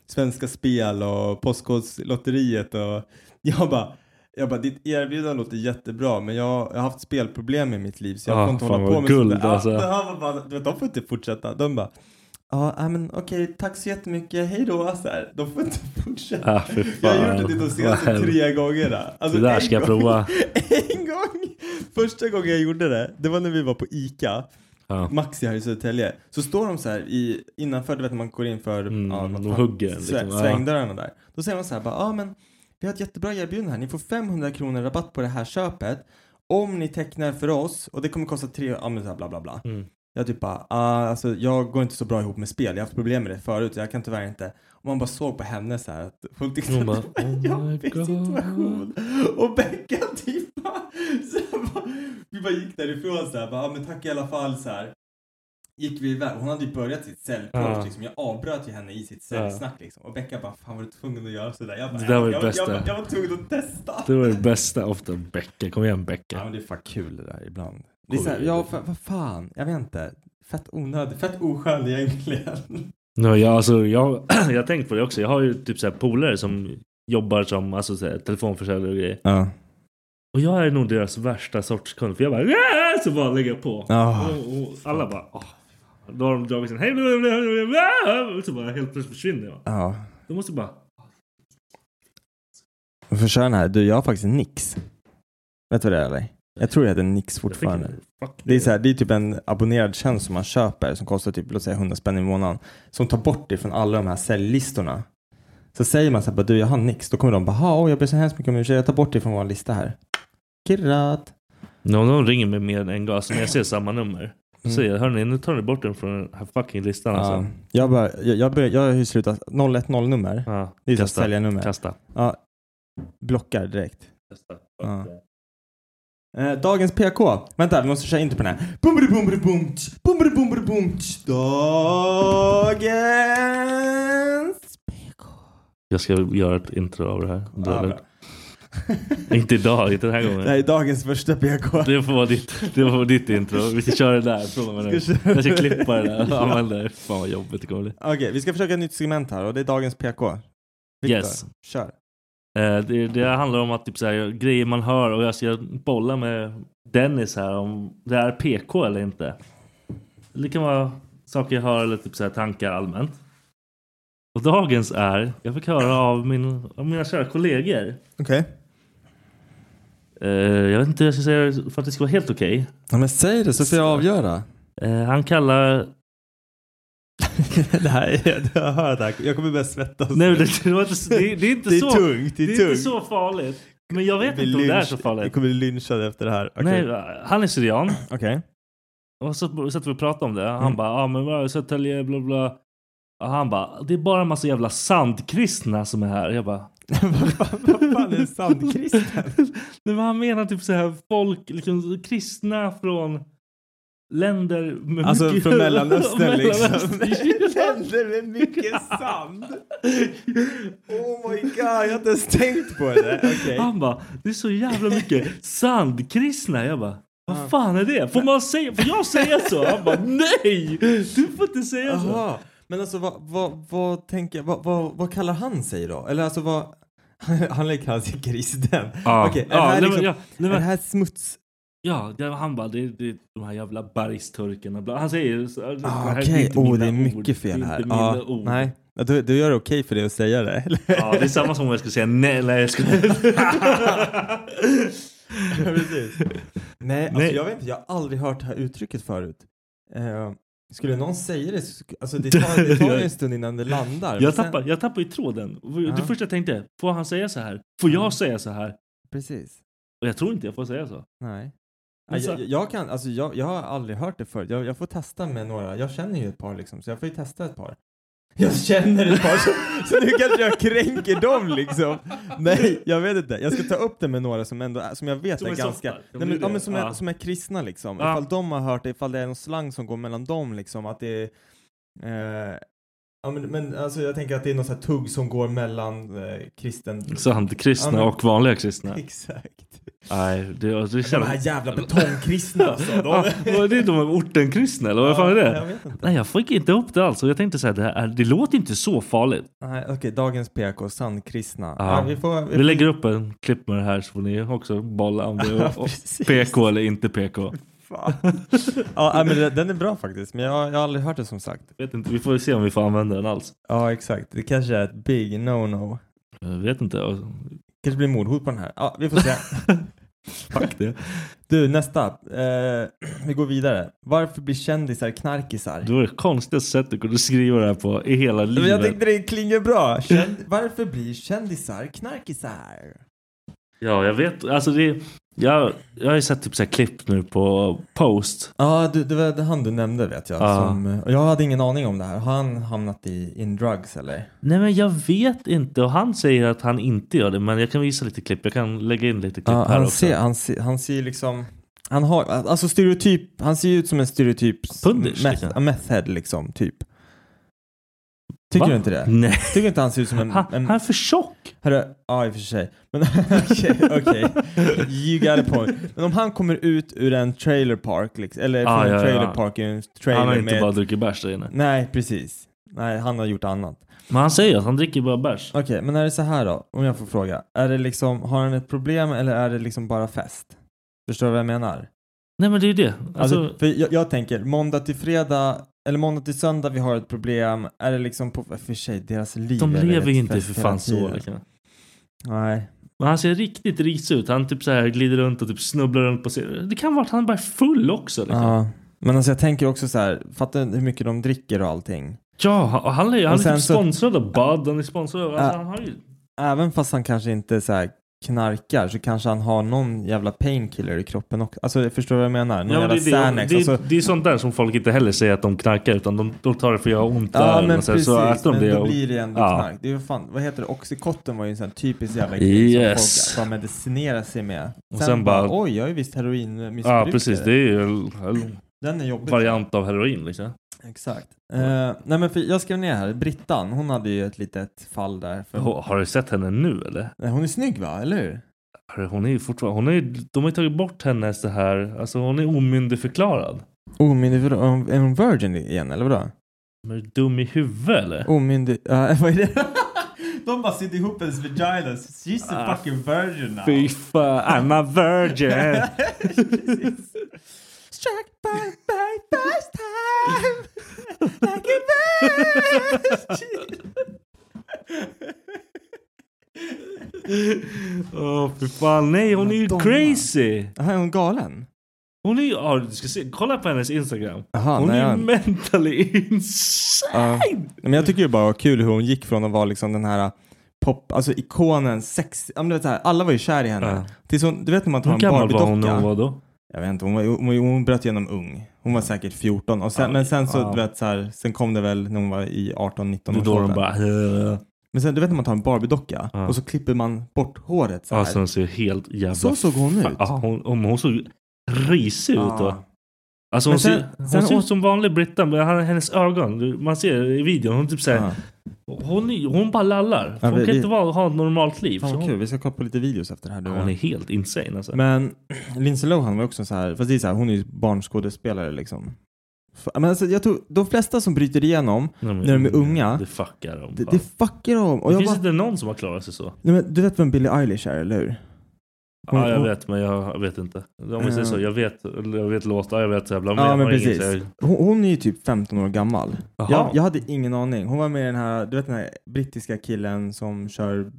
Speaker 3: Svenska Spel och Postkodlotteriet och jag bara jag bara, ditt erbjudande låter jättebra men jag, jag har haft spelproblem i mitt liv så jag
Speaker 2: Ah,
Speaker 3: får inte
Speaker 2: fan
Speaker 3: hålla
Speaker 2: vad
Speaker 3: på med
Speaker 2: guld,
Speaker 3: sånt där. *laughs* Ja,
Speaker 2: alltså.
Speaker 3: det här var bara, du vet, de får inte fortsätta. De bara, ja ah, men okej, tack så jättemycket, hej då. Så här, de får inte fortsätta.
Speaker 2: *laughs* Ah, för
Speaker 3: Jag
Speaker 2: fan.
Speaker 3: har gjort det de
Speaker 2: Vad
Speaker 3: senaste
Speaker 2: hemskt.
Speaker 3: tre gångerna. Alltså,
Speaker 2: det där
Speaker 3: en
Speaker 2: ska jag
Speaker 3: gång- *laughs*
Speaker 2: prova.
Speaker 3: En gång, första gången jag gjorde det, det var när vi var på ICA,
Speaker 2: Ja.
Speaker 3: Maxi här i Södertälje. Så står de så här i, innanför, du vet när man går in för
Speaker 2: Mm,
Speaker 3: ja, vad
Speaker 2: de
Speaker 3: fan,
Speaker 2: hugger,
Speaker 3: svä-
Speaker 2: liksom, ja.
Speaker 3: svängdörrarna där. Då säger de så här bara, ja ah, men vi har ett jättebra erbjudande här, ni får 500 kronor rabatt på det här köpet om ni tecknar för oss och det kommer kosta tre, ja men så här bla bla bla.
Speaker 2: Mm.
Speaker 3: Jag typ bara, ah, alltså jag går inte så bra ihop med spel, jag har haft problem med det förut, jag kan tyvärr inte. Och man bara såg på henne så här att hon tyckte
Speaker 2: Hon
Speaker 3: att
Speaker 2: bara,
Speaker 3: det var en
Speaker 2: "Oh my
Speaker 3: jobbig
Speaker 2: God."
Speaker 3: situation. Och Becka typ bara, så här bara, vi bara gick därifrån så här, bara, ah, men tack i alla fall så här. Gick vi iväg, hon hade ju börjat sitt säljcoach
Speaker 2: Ja.
Speaker 3: liksom, jag avbröt ju henne i sitt säljsnack liksom. Och Becka bara, fan var du tvungen att göra sådär? Jag bara,
Speaker 2: Det där var det
Speaker 3: jag,
Speaker 2: bästa.
Speaker 3: Jag, jag, var tvungen att testa.
Speaker 2: Det var det bästa. Ofta Becka. Kom igen
Speaker 3: Ja
Speaker 2: Becka.
Speaker 3: men det är fan kul det där ibland. Det är
Speaker 2: Oj.
Speaker 3: så här, ja fa- vad fan, jag vet inte. Fett onödigt, fett oskön egentligen.
Speaker 2: No, jag, alltså, jag, *clears throat* jag har tänkt på det också. Jag har ju typ så här polare som jobbar som alltså, så här, telefonförsäljare och grejer.
Speaker 3: Ja.
Speaker 2: Och jag är nog deras värsta sorts kund. För jag bara "Yeah!" så bara lägger jag på.
Speaker 3: Ja.
Speaker 2: Och, och alla bara "Åh." Då har de dragit sin hej blablabla, blablabla, och så bara helt plötsligt försvinner jag.
Speaker 3: Ja.
Speaker 2: De måste bara
Speaker 3: Vi får köra den här. Du, jag har faktiskt Nix. Vet du vad det är eller? Jag tror det heter Nix
Speaker 2: jag tänker,
Speaker 3: fortfarande.
Speaker 2: fuck
Speaker 3: Det är, så här, det är typ en abonnerad tjänst som man köper som kostar typ låt säga 100 spänn i månaden. Som tar bort det från alla de här säljlistorna. Så säger man så här, bara, du jag har nix. Då kommer de bara, ha, åh, jag ber så hemskt mycket om ursäkt. Jag tar bort det från vår lista här. Kirrat.
Speaker 2: Om någon ringer mig mer än en gång, alltså när jag ser samma nummer. Då
Speaker 3: Mm.
Speaker 2: säger jag, hörni nu tar ni bort den från den här fucking listan
Speaker 3: Ja,
Speaker 2: alltså.
Speaker 3: jag, bara, jag, jag, börjar- jag har ju slutat 010-nummer.
Speaker 2: Ja,
Speaker 3: Det är ju ett
Speaker 2: testa.
Speaker 3: säljarnummer.
Speaker 2: Testa.
Speaker 3: Ja, blockar direkt.
Speaker 2: testa.
Speaker 3: Ja. Eh, dagens PK. Vänta, vi måste köra inte på den här. Bumberibumberibumts, bumberibumberibumts. Dagens PK.
Speaker 2: Jag ska göra ett intro av det här.
Speaker 3: Ja, bra. *laughs*
Speaker 2: inte idag, inte den här gången.
Speaker 3: Nej, dagens första PK.
Speaker 2: Det får vara ditt, det får vara ditt intro. Vi ska köra det där från och med nu.
Speaker 3: Ska vi köra
Speaker 2: Jag ska
Speaker 3: det?
Speaker 2: klippa det där
Speaker 3: *laughs* Ja.
Speaker 2: och använda det. Fan vad jobbigt det kommer bli.
Speaker 3: Okej, vi ska försöka ett nytt segment här och det är dagens PK. Viktor,
Speaker 2: Yes.
Speaker 3: kör.
Speaker 2: Eh, Det, det handlar om att typ så här, grejer man hör och jag ska bolla med Dennis här om det är PK eller inte. Det kan vara saker jag hör eller typ så här, tankar allmänt. Och dagens är, jag fick höra av, min, av mina kära kollegor.
Speaker 3: Okej.
Speaker 2: Eh, jag vet inte hur jag ska säga det för att det ska vara helt okej.
Speaker 3: Ja, men säg det så får jag avgöra.
Speaker 2: Eh, han kallar...
Speaker 3: *laughs* det här är, jag hör det här. Jag kommer börja svettas.
Speaker 2: Nej, men det, det, var inte, det, det är inte
Speaker 3: det är
Speaker 2: så.
Speaker 3: tungt. Det är,
Speaker 2: det är
Speaker 3: tungt.
Speaker 2: inte så farligt. Men jag vet
Speaker 3: Vi
Speaker 2: inte om det är
Speaker 3: lynch-
Speaker 2: så
Speaker 3: Vi
Speaker 2: farligt.
Speaker 3: kommer bli lynchade efter det här. Okej.
Speaker 2: Nej, han är syrian.
Speaker 3: Okej.
Speaker 2: Och så satt vi och pratade om det. Han
Speaker 3: Mm.
Speaker 2: bara, ja ah, men vad är det, Södertälje, bla bla. Och han bara, det är bara en massa jävla sandkristna som är här. Jag bara,
Speaker 3: *laughs*
Speaker 2: *laughs*
Speaker 3: vad, fan- vad fan är sandkristen?
Speaker 2: Nej, men han menar typ så här folk, liksom kristna från länder med
Speaker 3: Alltså
Speaker 2: mycket...
Speaker 3: från Mellanöstern
Speaker 2: *laughs*
Speaker 3: liksom. *laughs*
Speaker 2: Mellanöstern.
Speaker 3: Länder med mycket sand. Oh my god, jag har inte ens tänkt på det.
Speaker 2: *laughs*
Speaker 3: Okej.
Speaker 2: Han bara, det är så jävla mycket sandkristna. Jag bara, vad fan är det? Får man säga, får jag säga så? Han bara, nej! Du får inte säga så.
Speaker 3: Jaha. Men alltså vad, vad, vad tänker, vad, vad, vad kallar han sig då? Eller alltså vad, *laughs* han kallar sig kristen.
Speaker 2: Ja.
Speaker 3: Okej, är det
Speaker 2: Ja,
Speaker 3: här
Speaker 2: Ah, nej, men-
Speaker 3: liksom-
Speaker 2: ja, nej,
Speaker 3: Är det
Speaker 2: men-
Speaker 3: här smuts?
Speaker 2: Ja, det- han bara, det, det de här jävla bergsturkarna. bla- Han säger så, det
Speaker 3: Ah,
Speaker 2: här är
Speaker 3: Okej,
Speaker 2: inte
Speaker 3: oh,
Speaker 2: mina
Speaker 3: det är
Speaker 2: ord,
Speaker 3: mycket fel
Speaker 2: det är
Speaker 3: här.
Speaker 2: Inte
Speaker 3: Ja,
Speaker 2: mina ord.
Speaker 3: nej, Ja, du, du gör det okej för dig att säga det? Eller?
Speaker 2: Ja, det är samma som om jag skulle säga nej. nej jag skulle...
Speaker 3: *laughs* Precis. Nej, alltså
Speaker 2: Nej.
Speaker 3: jag vet inte, jag har aldrig hört det här uttrycket förut. Eh, skulle någon säga det, så sk-
Speaker 2: *laughs*
Speaker 3: alltså det tar, det tar ju en stund innan det landar. men
Speaker 2: jag,
Speaker 3: sen-
Speaker 2: tappar, jag tappar ju tråden.
Speaker 3: Ja.
Speaker 2: Det första jag tänkte, får han säga så här? Får
Speaker 3: Ah.
Speaker 2: jag säga så här?
Speaker 3: Precis.
Speaker 2: Och jag tror inte jag får säga så.
Speaker 3: Nej.
Speaker 2: Men
Speaker 3: Nej,
Speaker 2: så-
Speaker 3: jag, jag, kan, alltså jag, jag har aldrig hört det förut. Jag, jag får testa med några. Jag känner ju ett par liksom, så jag får ju testa ett par. Jag känner ett par, så, så nu kanske jag kränker dem liksom. Nej, jag vet inte. Jag ska ta upp det med några som ändå är- som jag vet
Speaker 2: Som
Speaker 3: är
Speaker 2: är
Speaker 3: ganska...
Speaker 2: softar. De
Speaker 3: Nej,
Speaker 2: är
Speaker 3: men,
Speaker 2: det.
Speaker 3: ja, men som, är,
Speaker 2: Ja.
Speaker 3: som är kristna liksom.
Speaker 2: Ja.
Speaker 3: Ifall de har hört det, ifall det är någon slang som går mellan dem liksom. Att det är... Eh, ja, men, men alltså jag tänker att det är någon sån här tugg som går mellan eh, kristen...
Speaker 2: Sandkristna
Speaker 3: Ja, Ah, men-
Speaker 2: och vanliga kristna.
Speaker 3: *laughs* Exakt.
Speaker 2: Nej, det, det
Speaker 3: *laughs* De
Speaker 2: känns...
Speaker 3: här jävla betongkristna *laughs* alltså. De...
Speaker 2: Ja, vad är det de är ortenkristna eller vad fan är det?
Speaker 3: Jag vet inte.
Speaker 2: Nej, jag fick inte upp det alls. Och jag tänkte så här, det, här, är- det låter inte så farligt.
Speaker 3: Nej, okej, dagens PK, sandkristna.
Speaker 2: Ja.
Speaker 3: Ja, vi får...
Speaker 2: Vi lägger upp en klipp med det här så får ni också bolla om det
Speaker 3: Ja,
Speaker 2: är
Speaker 3: precis.
Speaker 2: PK eller inte PK.
Speaker 3: Fan. *laughs* ja, nej, men det- den är bra faktiskt, men jag, jag har aldrig hört det som sagt.
Speaker 2: Vet inte, vi får se om vi får använda den alls.
Speaker 3: Ja, exakt. Det kanske är ett big no-no.
Speaker 2: Jag vet inte.
Speaker 3: Kanske blir mordhot på den här. Ja, vi får *laughs* se.
Speaker 2: Fuck det.
Speaker 3: Du, nästa. Eh, vi går vidare. Varför blir kändisar knarkisar?
Speaker 2: Det var det konstigaste sättet du kunde skriva det här på i hela
Speaker 3: Men
Speaker 2: livet.
Speaker 3: jag tyckte det klingar bra. Känd... Varför blir kändisar knarkisar?
Speaker 2: Ja, jag vet. Alltså det, jag, jag har ju sett typ så här klipp nu på post.
Speaker 3: Ja, du, det var det han du nämnde vet jag.
Speaker 2: Ja.
Speaker 3: Som, och jag hade ingen aning om det här. Har han hamnat i in drugs eller?
Speaker 2: Nej men jag vet inte. Och han säger att han inte gör det. Men jag kan visa lite klipp. Jag kan lägga in lite klipp
Speaker 3: Ja,
Speaker 2: här
Speaker 3: han,
Speaker 2: också.
Speaker 3: ser, han, ser, han ser liksom... Han har, alltså stereotyp, han ser ju ut som en stereotyp
Speaker 2: Pundish,
Speaker 3: meth,
Speaker 2: liksom.
Speaker 3: a meth head liksom, typ. Tycker
Speaker 2: Va?
Speaker 3: du inte det?
Speaker 2: Nej,
Speaker 3: Tycker du inte han ser ut som en...
Speaker 2: han,
Speaker 3: en
Speaker 2: han är för tjock.
Speaker 3: hörru, ja i och för sig. Men *laughs* okej, okej. You got a point. Men om han kommer ut ur en trailer park, liksom, eller från
Speaker 2: Ah, Ja,
Speaker 3: en
Speaker 2: ja, ja.
Speaker 3: trailer park, ur en trailer
Speaker 2: Han har inte
Speaker 3: med...
Speaker 2: bara druckit bärs där inne.
Speaker 3: Nej, precis. Nej, han har gjort annat.
Speaker 2: Men han säger att han dricker bara bärs.
Speaker 3: Okej, men är det så här då? Om jag får fråga. Är det liksom, har han ett problem eller är det liksom bara fest? Förstår du vad jag menar?
Speaker 2: Nej men det är ju det.
Speaker 3: Alltså,
Speaker 2: Alltså,
Speaker 3: för jag, jag tänker, måndag till fredag, eller måndag till söndag vi har ett problem. Är det liksom på, för sig, deras liv
Speaker 2: de
Speaker 3: är väl
Speaker 2: lever ju
Speaker 3: ett
Speaker 2: inte
Speaker 3: fest
Speaker 2: för
Speaker 3: hela
Speaker 2: fan så.
Speaker 3: tiden.
Speaker 2: Liksom.
Speaker 3: Nej.
Speaker 2: Men han ser riktigt risig ut. Han typ så här glider runt och typ snubblar runt på scenen. Det kan vara att han bara är full också. Liksom.
Speaker 3: Ja. Men alltså jag tänker också så här, fattar du hur mycket de dricker och allting?
Speaker 2: Ja, och han är, han
Speaker 3: Och
Speaker 2: är
Speaker 3: sen
Speaker 2: typ
Speaker 3: så-
Speaker 2: sponsrad av Bud. Han är sponsrad av...
Speaker 3: Ja.
Speaker 2: Alltså, han har ju...
Speaker 3: Även fast han kanske inte så här knarkar så kanske han har någon jävla painkiller i kroppen också. Alltså jag förstår vad jag menar? Någon
Speaker 2: Ja, men
Speaker 3: jävla
Speaker 2: det, är det,
Speaker 3: Xanax.
Speaker 2: det,
Speaker 3: Alltså,
Speaker 2: det är sånt där som folk inte heller säger att de knarkar utan de, de tar det för att göra ont där.
Speaker 3: ja
Speaker 2: eller
Speaker 3: men
Speaker 2: något sånt.
Speaker 3: precis,
Speaker 2: så äter de
Speaker 3: men
Speaker 2: det
Speaker 3: då
Speaker 2: och-
Speaker 3: blir det ändå
Speaker 2: Ja.
Speaker 3: knark. Det är ju fan, vad heter det? Oxycontin var ju en sån här typisk jävla grej
Speaker 2: Yes.
Speaker 3: som folk bara medicinerar sig med.
Speaker 2: Och sen bara-
Speaker 3: oj jag är visst heroinmissbrukare.
Speaker 2: Ja precis, det är ju en, en
Speaker 3: Den är jobbig.
Speaker 2: variant av heroin liksom.
Speaker 3: Exakt. Eh, nej men för jag skrev ner här, Brittan, hon hade ju ett litet fall där. För...
Speaker 2: Har har du sett henne nu eller?
Speaker 3: Nej, Hon är snygg va, eller hur?
Speaker 2: Har du- Hon är ju fortfarande, hon är, ju- de har ju tagit bort hennes det här, alltså hon är omyndigförklarad.
Speaker 3: Omyndig, är hon- är hon virgin igen eller vadå?
Speaker 2: Men är du dum i huvudet eller?
Speaker 3: Omyndig, uh, *laughs* vad är det? De bara sitter ihop ens vaginas. She's a fucking virgin now.
Speaker 2: Ah, fan, I'm a
Speaker 3: *laughs*
Speaker 2: virgin!
Speaker 3: Precis. Struck by, by first time Like a virgin
Speaker 2: Åh fy fan, nej hon är ju
Speaker 3: Madonna.
Speaker 2: crazy!
Speaker 3: Jaha, är hon galen?
Speaker 2: Hon är ju, ja, du ska se, kolla på hennes instagram.
Speaker 3: Aha,
Speaker 2: hon
Speaker 3: nej,
Speaker 2: är ju
Speaker 3: jag-
Speaker 2: mentally *laughs*
Speaker 3: Ja.
Speaker 2: insane!
Speaker 3: Men jag tycker ju bara det var kul hur hon gick från att vara liksom den här pop, alltså ikonen, sex, ja men du vet så här, alla var ju kär i henne.
Speaker 2: Ja.
Speaker 3: Tills hon, du vet när man tar
Speaker 2: Hur
Speaker 3: en
Speaker 2: gammal var hon när hon
Speaker 3: Barbie-docka.
Speaker 2: var då?
Speaker 3: Jag vet inte, hon, var, hon, var- hon bröt igenom ung. Hon var säkert 14 och sen,
Speaker 2: Ja,
Speaker 3: men sen så
Speaker 2: ja.
Speaker 3: du vet så här, sen kom det väl när hon var i 18-19
Speaker 2: Det är då
Speaker 3: årsåldern.
Speaker 2: de bara...
Speaker 3: Men sen du vet när man tar en Barbie-docka
Speaker 2: Ja.
Speaker 3: och så klipper man bort håret så här.
Speaker 2: Ja, så Alltså, hon ser helt jävla...
Speaker 3: så såg hon ut.
Speaker 2: Ja, hon, om hon såg risig ut då.
Speaker 3: Ja.
Speaker 2: Alltså
Speaker 3: Men
Speaker 2: hon,
Speaker 3: sen-
Speaker 2: ser, hon
Speaker 3: sen
Speaker 2: ser
Speaker 3: hon-
Speaker 2: ut som vanlig Britta, men han- hennes ögon, du- man ser i videon, hon typ såhär,
Speaker 3: Ja.
Speaker 2: hon, är- hon bara lallar.
Speaker 3: Ja,
Speaker 2: hon
Speaker 3: vi-
Speaker 2: kan
Speaker 3: vi-
Speaker 2: inte vara, ha ett normalt liv.
Speaker 3: Fan
Speaker 2: så
Speaker 3: vad
Speaker 2: hon,
Speaker 3: kul, vi ska kolla på lite videos efter det här. Du. och
Speaker 2: hon
Speaker 3: jag.
Speaker 2: är helt insane alltså.
Speaker 3: Men *clears throat* Lindsay Lohan var också så här, fast det är så här, hon är ju barnskådespelare liksom. F- Men alltså, jag tror de flesta som bryter igenom, när de är unga,
Speaker 2: Mm. Det fuckar dem.
Speaker 3: det,
Speaker 2: fan.
Speaker 3: det fuckar dem. Och
Speaker 2: det
Speaker 3: jag
Speaker 2: finns
Speaker 3: bara,
Speaker 2: inte någon som har klarat sig så.
Speaker 3: nej, men, du vet vem Billie Eilish är, eller hur? Hon-
Speaker 2: Ja, jag
Speaker 3: hon-
Speaker 2: vet, men jag vet inte. Om vi
Speaker 3: Eh.
Speaker 2: säger så, jag vet, eller jag vet låtar, jag vet jävla
Speaker 3: Ja,
Speaker 2: jag
Speaker 3: men
Speaker 2: har inget
Speaker 3: precis.
Speaker 2: så jag-
Speaker 3: Hon, hon är ju typ 15 år gammal.
Speaker 2: Jaha.
Speaker 3: Jag, jag hade ingen aning. Hon var med i den här, du vet den här brittiska killen som kör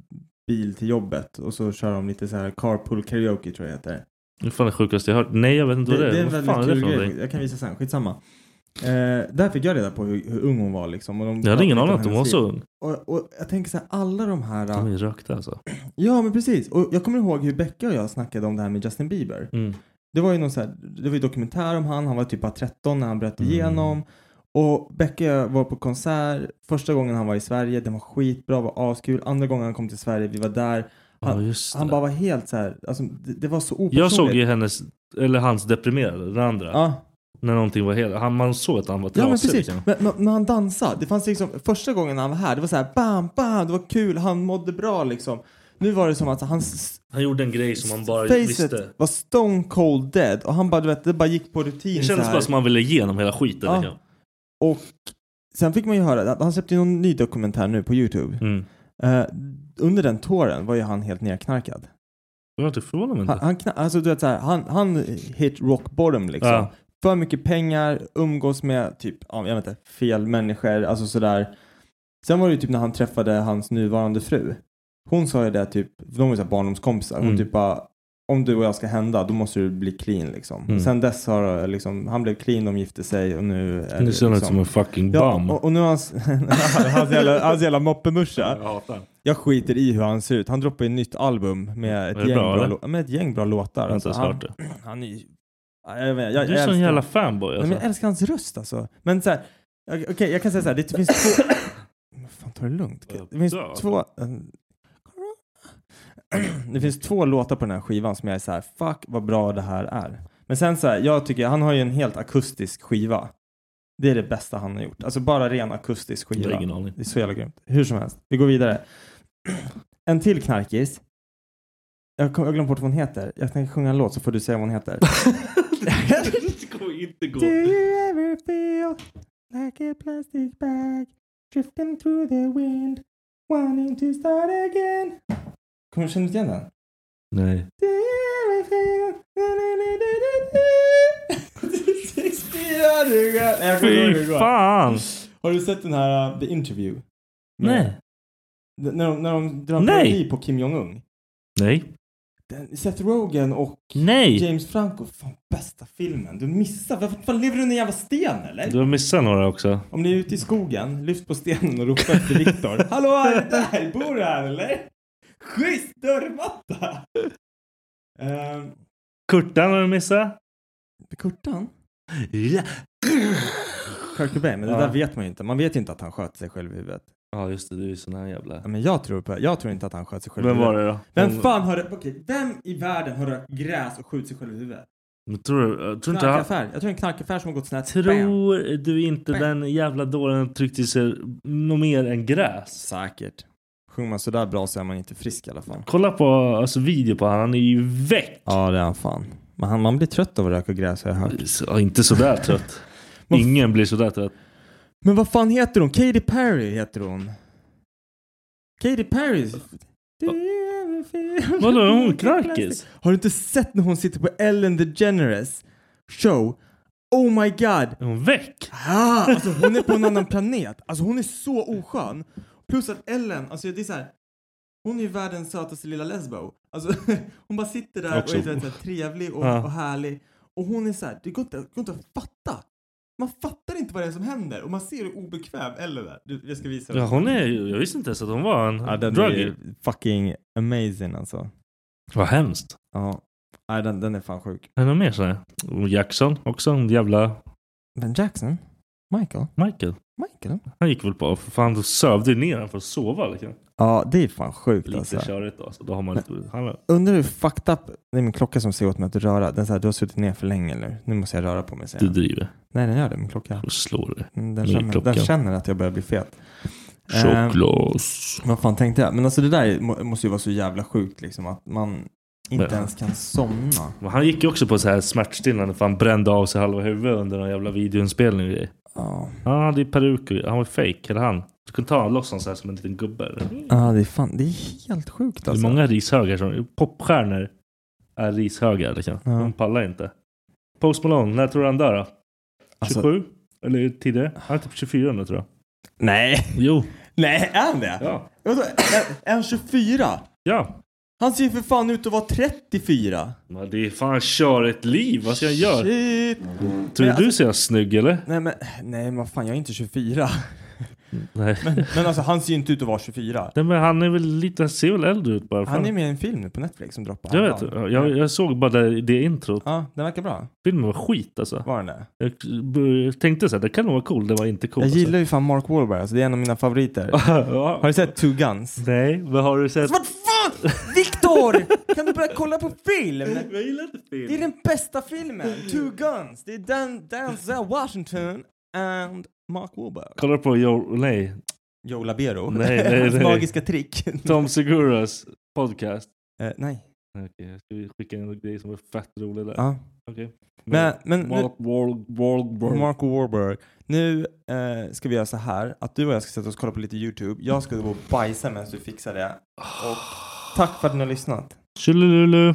Speaker 3: bil till jobbet och så kör de lite så här carpool karaoke tror jag det heter.
Speaker 2: Det är fan det sjukaste jag hört. Nej, jag vet inte
Speaker 3: Det,
Speaker 2: vad det,
Speaker 3: det är en
Speaker 2: Vad
Speaker 3: väldigt
Speaker 2: fan är det
Speaker 3: kul
Speaker 2: för
Speaker 3: grej.
Speaker 2: någonting?
Speaker 3: Jag kan visa sen, skitsamma. Eh, där fick jag reda på hur, hur ung hon var liksom. Och de
Speaker 2: Jag hade ingen aning
Speaker 3: pratade
Speaker 2: om att
Speaker 3: lite
Speaker 2: hon
Speaker 3: om
Speaker 2: var
Speaker 3: hennes
Speaker 2: så
Speaker 3: liv.
Speaker 2: ung.
Speaker 3: Och, och jag tänker så här, alla de här...
Speaker 2: De är rökta alltså.
Speaker 3: Ja men precis. Och jag kommer ihåg hur Becka och jag snackade om det här med Justin Bieber.
Speaker 2: Mm.
Speaker 3: Det var ju någon så här, det var ju dokumentär om han, han var typ bara 13 när han bröt
Speaker 2: Mm.
Speaker 3: igenom. Och Becka var på konsert, första gången han var i Sverige, den var skitbra, var askul. Andra gången han kom till Sverige, vi var där.
Speaker 2: Ja, just
Speaker 3: Han
Speaker 2: det.
Speaker 3: bara var helt så här, alltså det, det var så opersonligt.
Speaker 2: Jag såg ju hennes, eller hans deprimerade, den andra.
Speaker 3: Ja,
Speaker 2: När någonting var helt, han, man såg att han var
Speaker 3: ja
Speaker 2: trasig.
Speaker 3: men precis.
Speaker 2: liksom.
Speaker 3: Men, men, men han dansade. Det fanns liksom, första gången han var här, det var så här bam, bam, det var kul, han mådde bra liksom. Nu var det som att hans
Speaker 2: Han gjorde en grej som han bara
Speaker 3: Facet
Speaker 2: visste.
Speaker 3: var stone cold dead och han bara, du vet, det bara gick på rutin
Speaker 2: Det
Speaker 3: så
Speaker 2: kändes
Speaker 3: här.
Speaker 2: bara som han ville ge igenom hela skiten.
Speaker 3: Ja.
Speaker 2: liksom.
Speaker 3: Och sen fick man ju höra, att han släppte ju någon ny dokumentär nu på YouTube.
Speaker 2: Mm.
Speaker 3: Eh, under den tåren var ju han helt nerknarkad.
Speaker 2: Jag är inte förvånad mig
Speaker 3: Han,
Speaker 2: inte.
Speaker 3: han, kna- alltså, du vet, så här, han, han hit rock bottom liksom.
Speaker 2: Ja.
Speaker 3: För mycket pengar, umgås med typ, ja, jag vet inte, fel människor, alltså sådär. Sen var det ju typ när han träffade hans nuvarande fru. Hon sa ju det typ, de var ju såhär barndomskompisar. Hon
Speaker 2: Mm.
Speaker 3: typ bara, om du och jag ska hända, då måste du bli clean liksom.
Speaker 2: Mm.
Speaker 3: Sen dess har det liksom, han blev clean, de gifte sig och nu... är det
Speaker 2: Nu ser han ut
Speaker 3: liksom-
Speaker 2: som en fucking
Speaker 3: Ja,
Speaker 2: bam.
Speaker 3: och, och nu har hans, *laughs* hans jävla, hans jävla moppemuscha.
Speaker 2: Jag hatar honom.
Speaker 3: Jag skiter i hur han ser ut. Han droppar ju ett nytt album med
Speaker 2: Är
Speaker 3: ett,
Speaker 2: det
Speaker 3: gäng,
Speaker 2: bra,
Speaker 3: bra,
Speaker 2: eller?
Speaker 3: lå- med ett gäng bra låtar.
Speaker 2: Jag har inte ens
Speaker 3: han,
Speaker 2: hört det.
Speaker 3: han är ju... Ja, Jag, vet, jag,
Speaker 2: Du är
Speaker 3: jag
Speaker 2: sån
Speaker 3: älskar-
Speaker 2: jävla fanboy
Speaker 3: Nej,
Speaker 2: alltså.
Speaker 3: men jag älskar hans röst alltså. Men så här, jag- okej jag kan säga så här, det finns två... Men Fan ta det lugnt.
Speaker 2: Jag
Speaker 3: Det finns
Speaker 2: dör.
Speaker 3: två... Det finns två låtar på den här skivan som jag är så här, fuck vad bra det här är. Men sen så här, jag tycker, han har ju en helt akustisk skiva. Det är det bästa han har gjort. Alltså bara ren akustisk
Speaker 2: Jag
Speaker 3: skiva.
Speaker 2: har ingen aning.
Speaker 3: Det är så jävla grymt. Hur som helst, vi går vidare. En till knarkis. Jag kom- jag glömde bort vad hon heter. Jag tänker sjunga en låt så får du säga vad hon heter.
Speaker 2: Det kommer inte gå.
Speaker 3: Do you ever feel like a plastic bag drifting through the wind wanting to start again? Kommer du känna igen den?
Speaker 2: Nej.
Speaker 3: Do you ever feel... Nej, jag kommer inte ihåg hur
Speaker 2: Fy
Speaker 3: det går.
Speaker 2: fan!
Speaker 3: Har du sett den här uh, The Interview?
Speaker 2: Nej.
Speaker 3: N- När de, när de drar en
Speaker 2: Nej.
Speaker 3: parodi på Kim Jong-Un.
Speaker 2: Nej.
Speaker 3: Den, Seth Rogen och
Speaker 2: Nej!
Speaker 3: James Franco. Fan, bästa filmen. Du missar. Varför fan, lever du under en jävla sten eller?
Speaker 2: Du har missat några också.
Speaker 3: Om ni är ute i skogen, lyft på stenen och ropa efter Viktor. Hallå, är det där? Bor du här eller? Schysst dörrmatta! Ehm,
Speaker 2: Kurtan har du missat.
Speaker 3: Kurtan?
Speaker 2: Ja.
Speaker 3: Kurt Cobain, men det
Speaker 2: Ja.
Speaker 3: där vet man ju inte. Man vet ju inte att han sköt sig själv i huvudet.
Speaker 2: Ja just det, du är ju sån här jävla...
Speaker 3: Ja, Men jag tror, på, jag tror inte att han sköt sig själv
Speaker 2: Vem
Speaker 3: i
Speaker 2: var
Speaker 3: huvudet.
Speaker 2: det då?
Speaker 3: Vem fan har rökt, okej, vem i världen har rökt gräs och skjutit sig själv i huvudet?
Speaker 2: Men Tror du, jag tror inte han...
Speaker 3: Knarkaffär. Jag tror en knarkaffär som har gått snett. Bam.
Speaker 2: Tror du inte
Speaker 3: Bam.
Speaker 2: den jävla dåren tryckte i sig något mer än gräs?
Speaker 3: Säkert. Sjunger man sådär bra så är man inte frisk i alla fall.
Speaker 2: Kolla på alltså, video på han, han är ju väck!
Speaker 3: Ja, det är han fan. Men han, man blir trött av att röka gräs har jag hört.
Speaker 2: Så, inte sådär trött. *laughs*
Speaker 3: Men f-
Speaker 2: Ingen blir sådär trött.
Speaker 3: Men vad fan heter hon? Katy Perry heter hon. Katy Perry.
Speaker 2: Vadå,
Speaker 3: *laughs*
Speaker 2: är hon knarkis?
Speaker 3: Har du inte sett när hon sitter på Ellen DeGeneres show? Oh my god!
Speaker 2: Är hon väck?
Speaker 3: Ah, alltså hon är på en annan planet. Alltså hon är så oskön. Plus att Ellen, alltså det är så här. Hon är ju världens sötaste lilla lesbo. Alltså *laughs* hon bara sitter där
Speaker 2: Också.
Speaker 3: och är så här, så här, trevlig och,
Speaker 2: Ja.
Speaker 3: och härlig. Och hon är så här, det går inte, det går inte att fatta. Man fattar inte vad det är som händer och man ser hur obekväm Ellen är. Du, jag ska visa
Speaker 2: Ja, hon är ju- Jag visste inte ens att hon var en druggie.
Speaker 3: fucking amazing alltså.
Speaker 2: Vad hemskt.
Speaker 3: Ja. Nej, den, den är fan sjuk.
Speaker 2: Är det någon mer sådär? Jackson också, en jävla
Speaker 3: Ben Jackson? Michael?
Speaker 2: Michael.
Speaker 3: Michael?
Speaker 2: Han gick väl på, för fan då sövde ju ner han för att sova liksom.
Speaker 3: Ja, det är fan sjukt alltså.
Speaker 2: Lite körigt då, så då har man lite... Han,
Speaker 3: Undrar hur fucked up, det är min klocka som säger åt mig att röra. Den säger du har suttit ner för länge nu. Nu måste jag röra på mig
Speaker 2: du
Speaker 3: säger den.
Speaker 2: driver.
Speaker 3: Nej den gör det, min klocka.
Speaker 2: Då slår du.
Speaker 3: Mm, Den
Speaker 2: Min
Speaker 3: känner,
Speaker 2: klocka.
Speaker 3: den känner att jag börjar bli fet.
Speaker 2: Ehm.
Speaker 3: Eh,
Speaker 2: Choklas.
Speaker 3: vad fan tänkte jag? Men alltså det där må- måste ju vara så jävla sjukt liksom att man inte
Speaker 2: Men-
Speaker 3: ens kan somna.
Speaker 2: Men han gick ju också på så här smärtstillande för han brände av sig halva huvudet under någon jävla videoinspelning och grej.
Speaker 3: Ja,
Speaker 2: Han hade ju peruk och han var fake, eller han? Du kunde ta honom loss honom så här som en liten gubbe.
Speaker 3: ah, det är fan, det är helt sjukt
Speaker 2: Det är
Speaker 3: alltså.
Speaker 2: många rishögar som... Popstjärnor är rishögar liksom.
Speaker 3: Ja.
Speaker 2: De pallar inte. Post Malone, när tror du han dör då? 27?
Speaker 3: Alltså,
Speaker 2: Eller tidigare? Han är typ 24 nu tror jag.
Speaker 3: nej, *laughs*
Speaker 2: Jo.
Speaker 3: nej är han det?
Speaker 2: Ja.
Speaker 3: Vadå, en- En 24?
Speaker 2: Ja.
Speaker 3: Han ser ju för fan ut att vara 34.
Speaker 2: Men det är fan kör ett liv. Vad ska jag göra?
Speaker 3: Shit. Alltså-
Speaker 2: Tror du
Speaker 3: Men
Speaker 2: du ser jag snygg eller?
Speaker 3: Nej men, nej men vad fan jag är inte 24.
Speaker 2: Nej.
Speaker 3: Men alltså han ser ju inte ut att vara 24.
Speaker 2: Nej men han är väl lite... Han ser väl äldre ut bara.
Speaker 3: Han
Speaker 2: Fan.
Speaker 3: är med i en film nu på Netflix som droppar.
Speaker 2: Jag vet.
Speaker 3: häromdagen.
Speaker 2: Jag, jag såg bara det, det introt.
Speaker 3: Ja, den verkar bra.
Speaker 2: Filmen var skit alltså.
Speaker 3: Var den det?
Speaker 2: Jag b- tänkte så här, det kan nog vara cool. Det var inte cool.
Speaker 3: Jag gillar ju fan Mark Wahlberg, alltså det är en av mina favoriter.
Speaker 2: alltså.
Speaker 3: Har
Speaker 2: *laughs* ja.
Speaker 3: du sett Two Guns? Alltså,
Speaker 2: Nej, men har du sett...
Speaker 3: Vad fan! Viktor! Kan du börja kolla på film?
Speaker 2: *laughs* Jag gillar inte film.
Speaker 3: Det är den bästa filmen! Two Guns! Det är Dan, Denzel Washington and Mark Wahlberg.
Speaker 2: Kollar på Joe... Nej.
Speaker 3: Joe Labero.
Speaker 2: Nej, nej,
Speaker 3: *laughs* Hans
Speaker 2: nej.
Speaker 3: magiska trick.
Speaker 2: Tom Seguras podcast.
Speaker 3: Eh, nej.
Speaker 2: Okej, jag ska skicka en grej som var fett rolig där.
Speaker 3: Ja.
Speaker 2: Okej.
Speaker 3: Men, men nu,
Speaker 2: Mark Wahl- Wahlberg.
Speaker 3: Mark Wahlberg. Nu eh, ska vi göra så här att du och jag ska sätta oss och kolla på lite YouTube. Jag ska gå och bajsa medan du fixar det. Och tack för att ni har lyssnat.
Speaker 2: Tjolululu.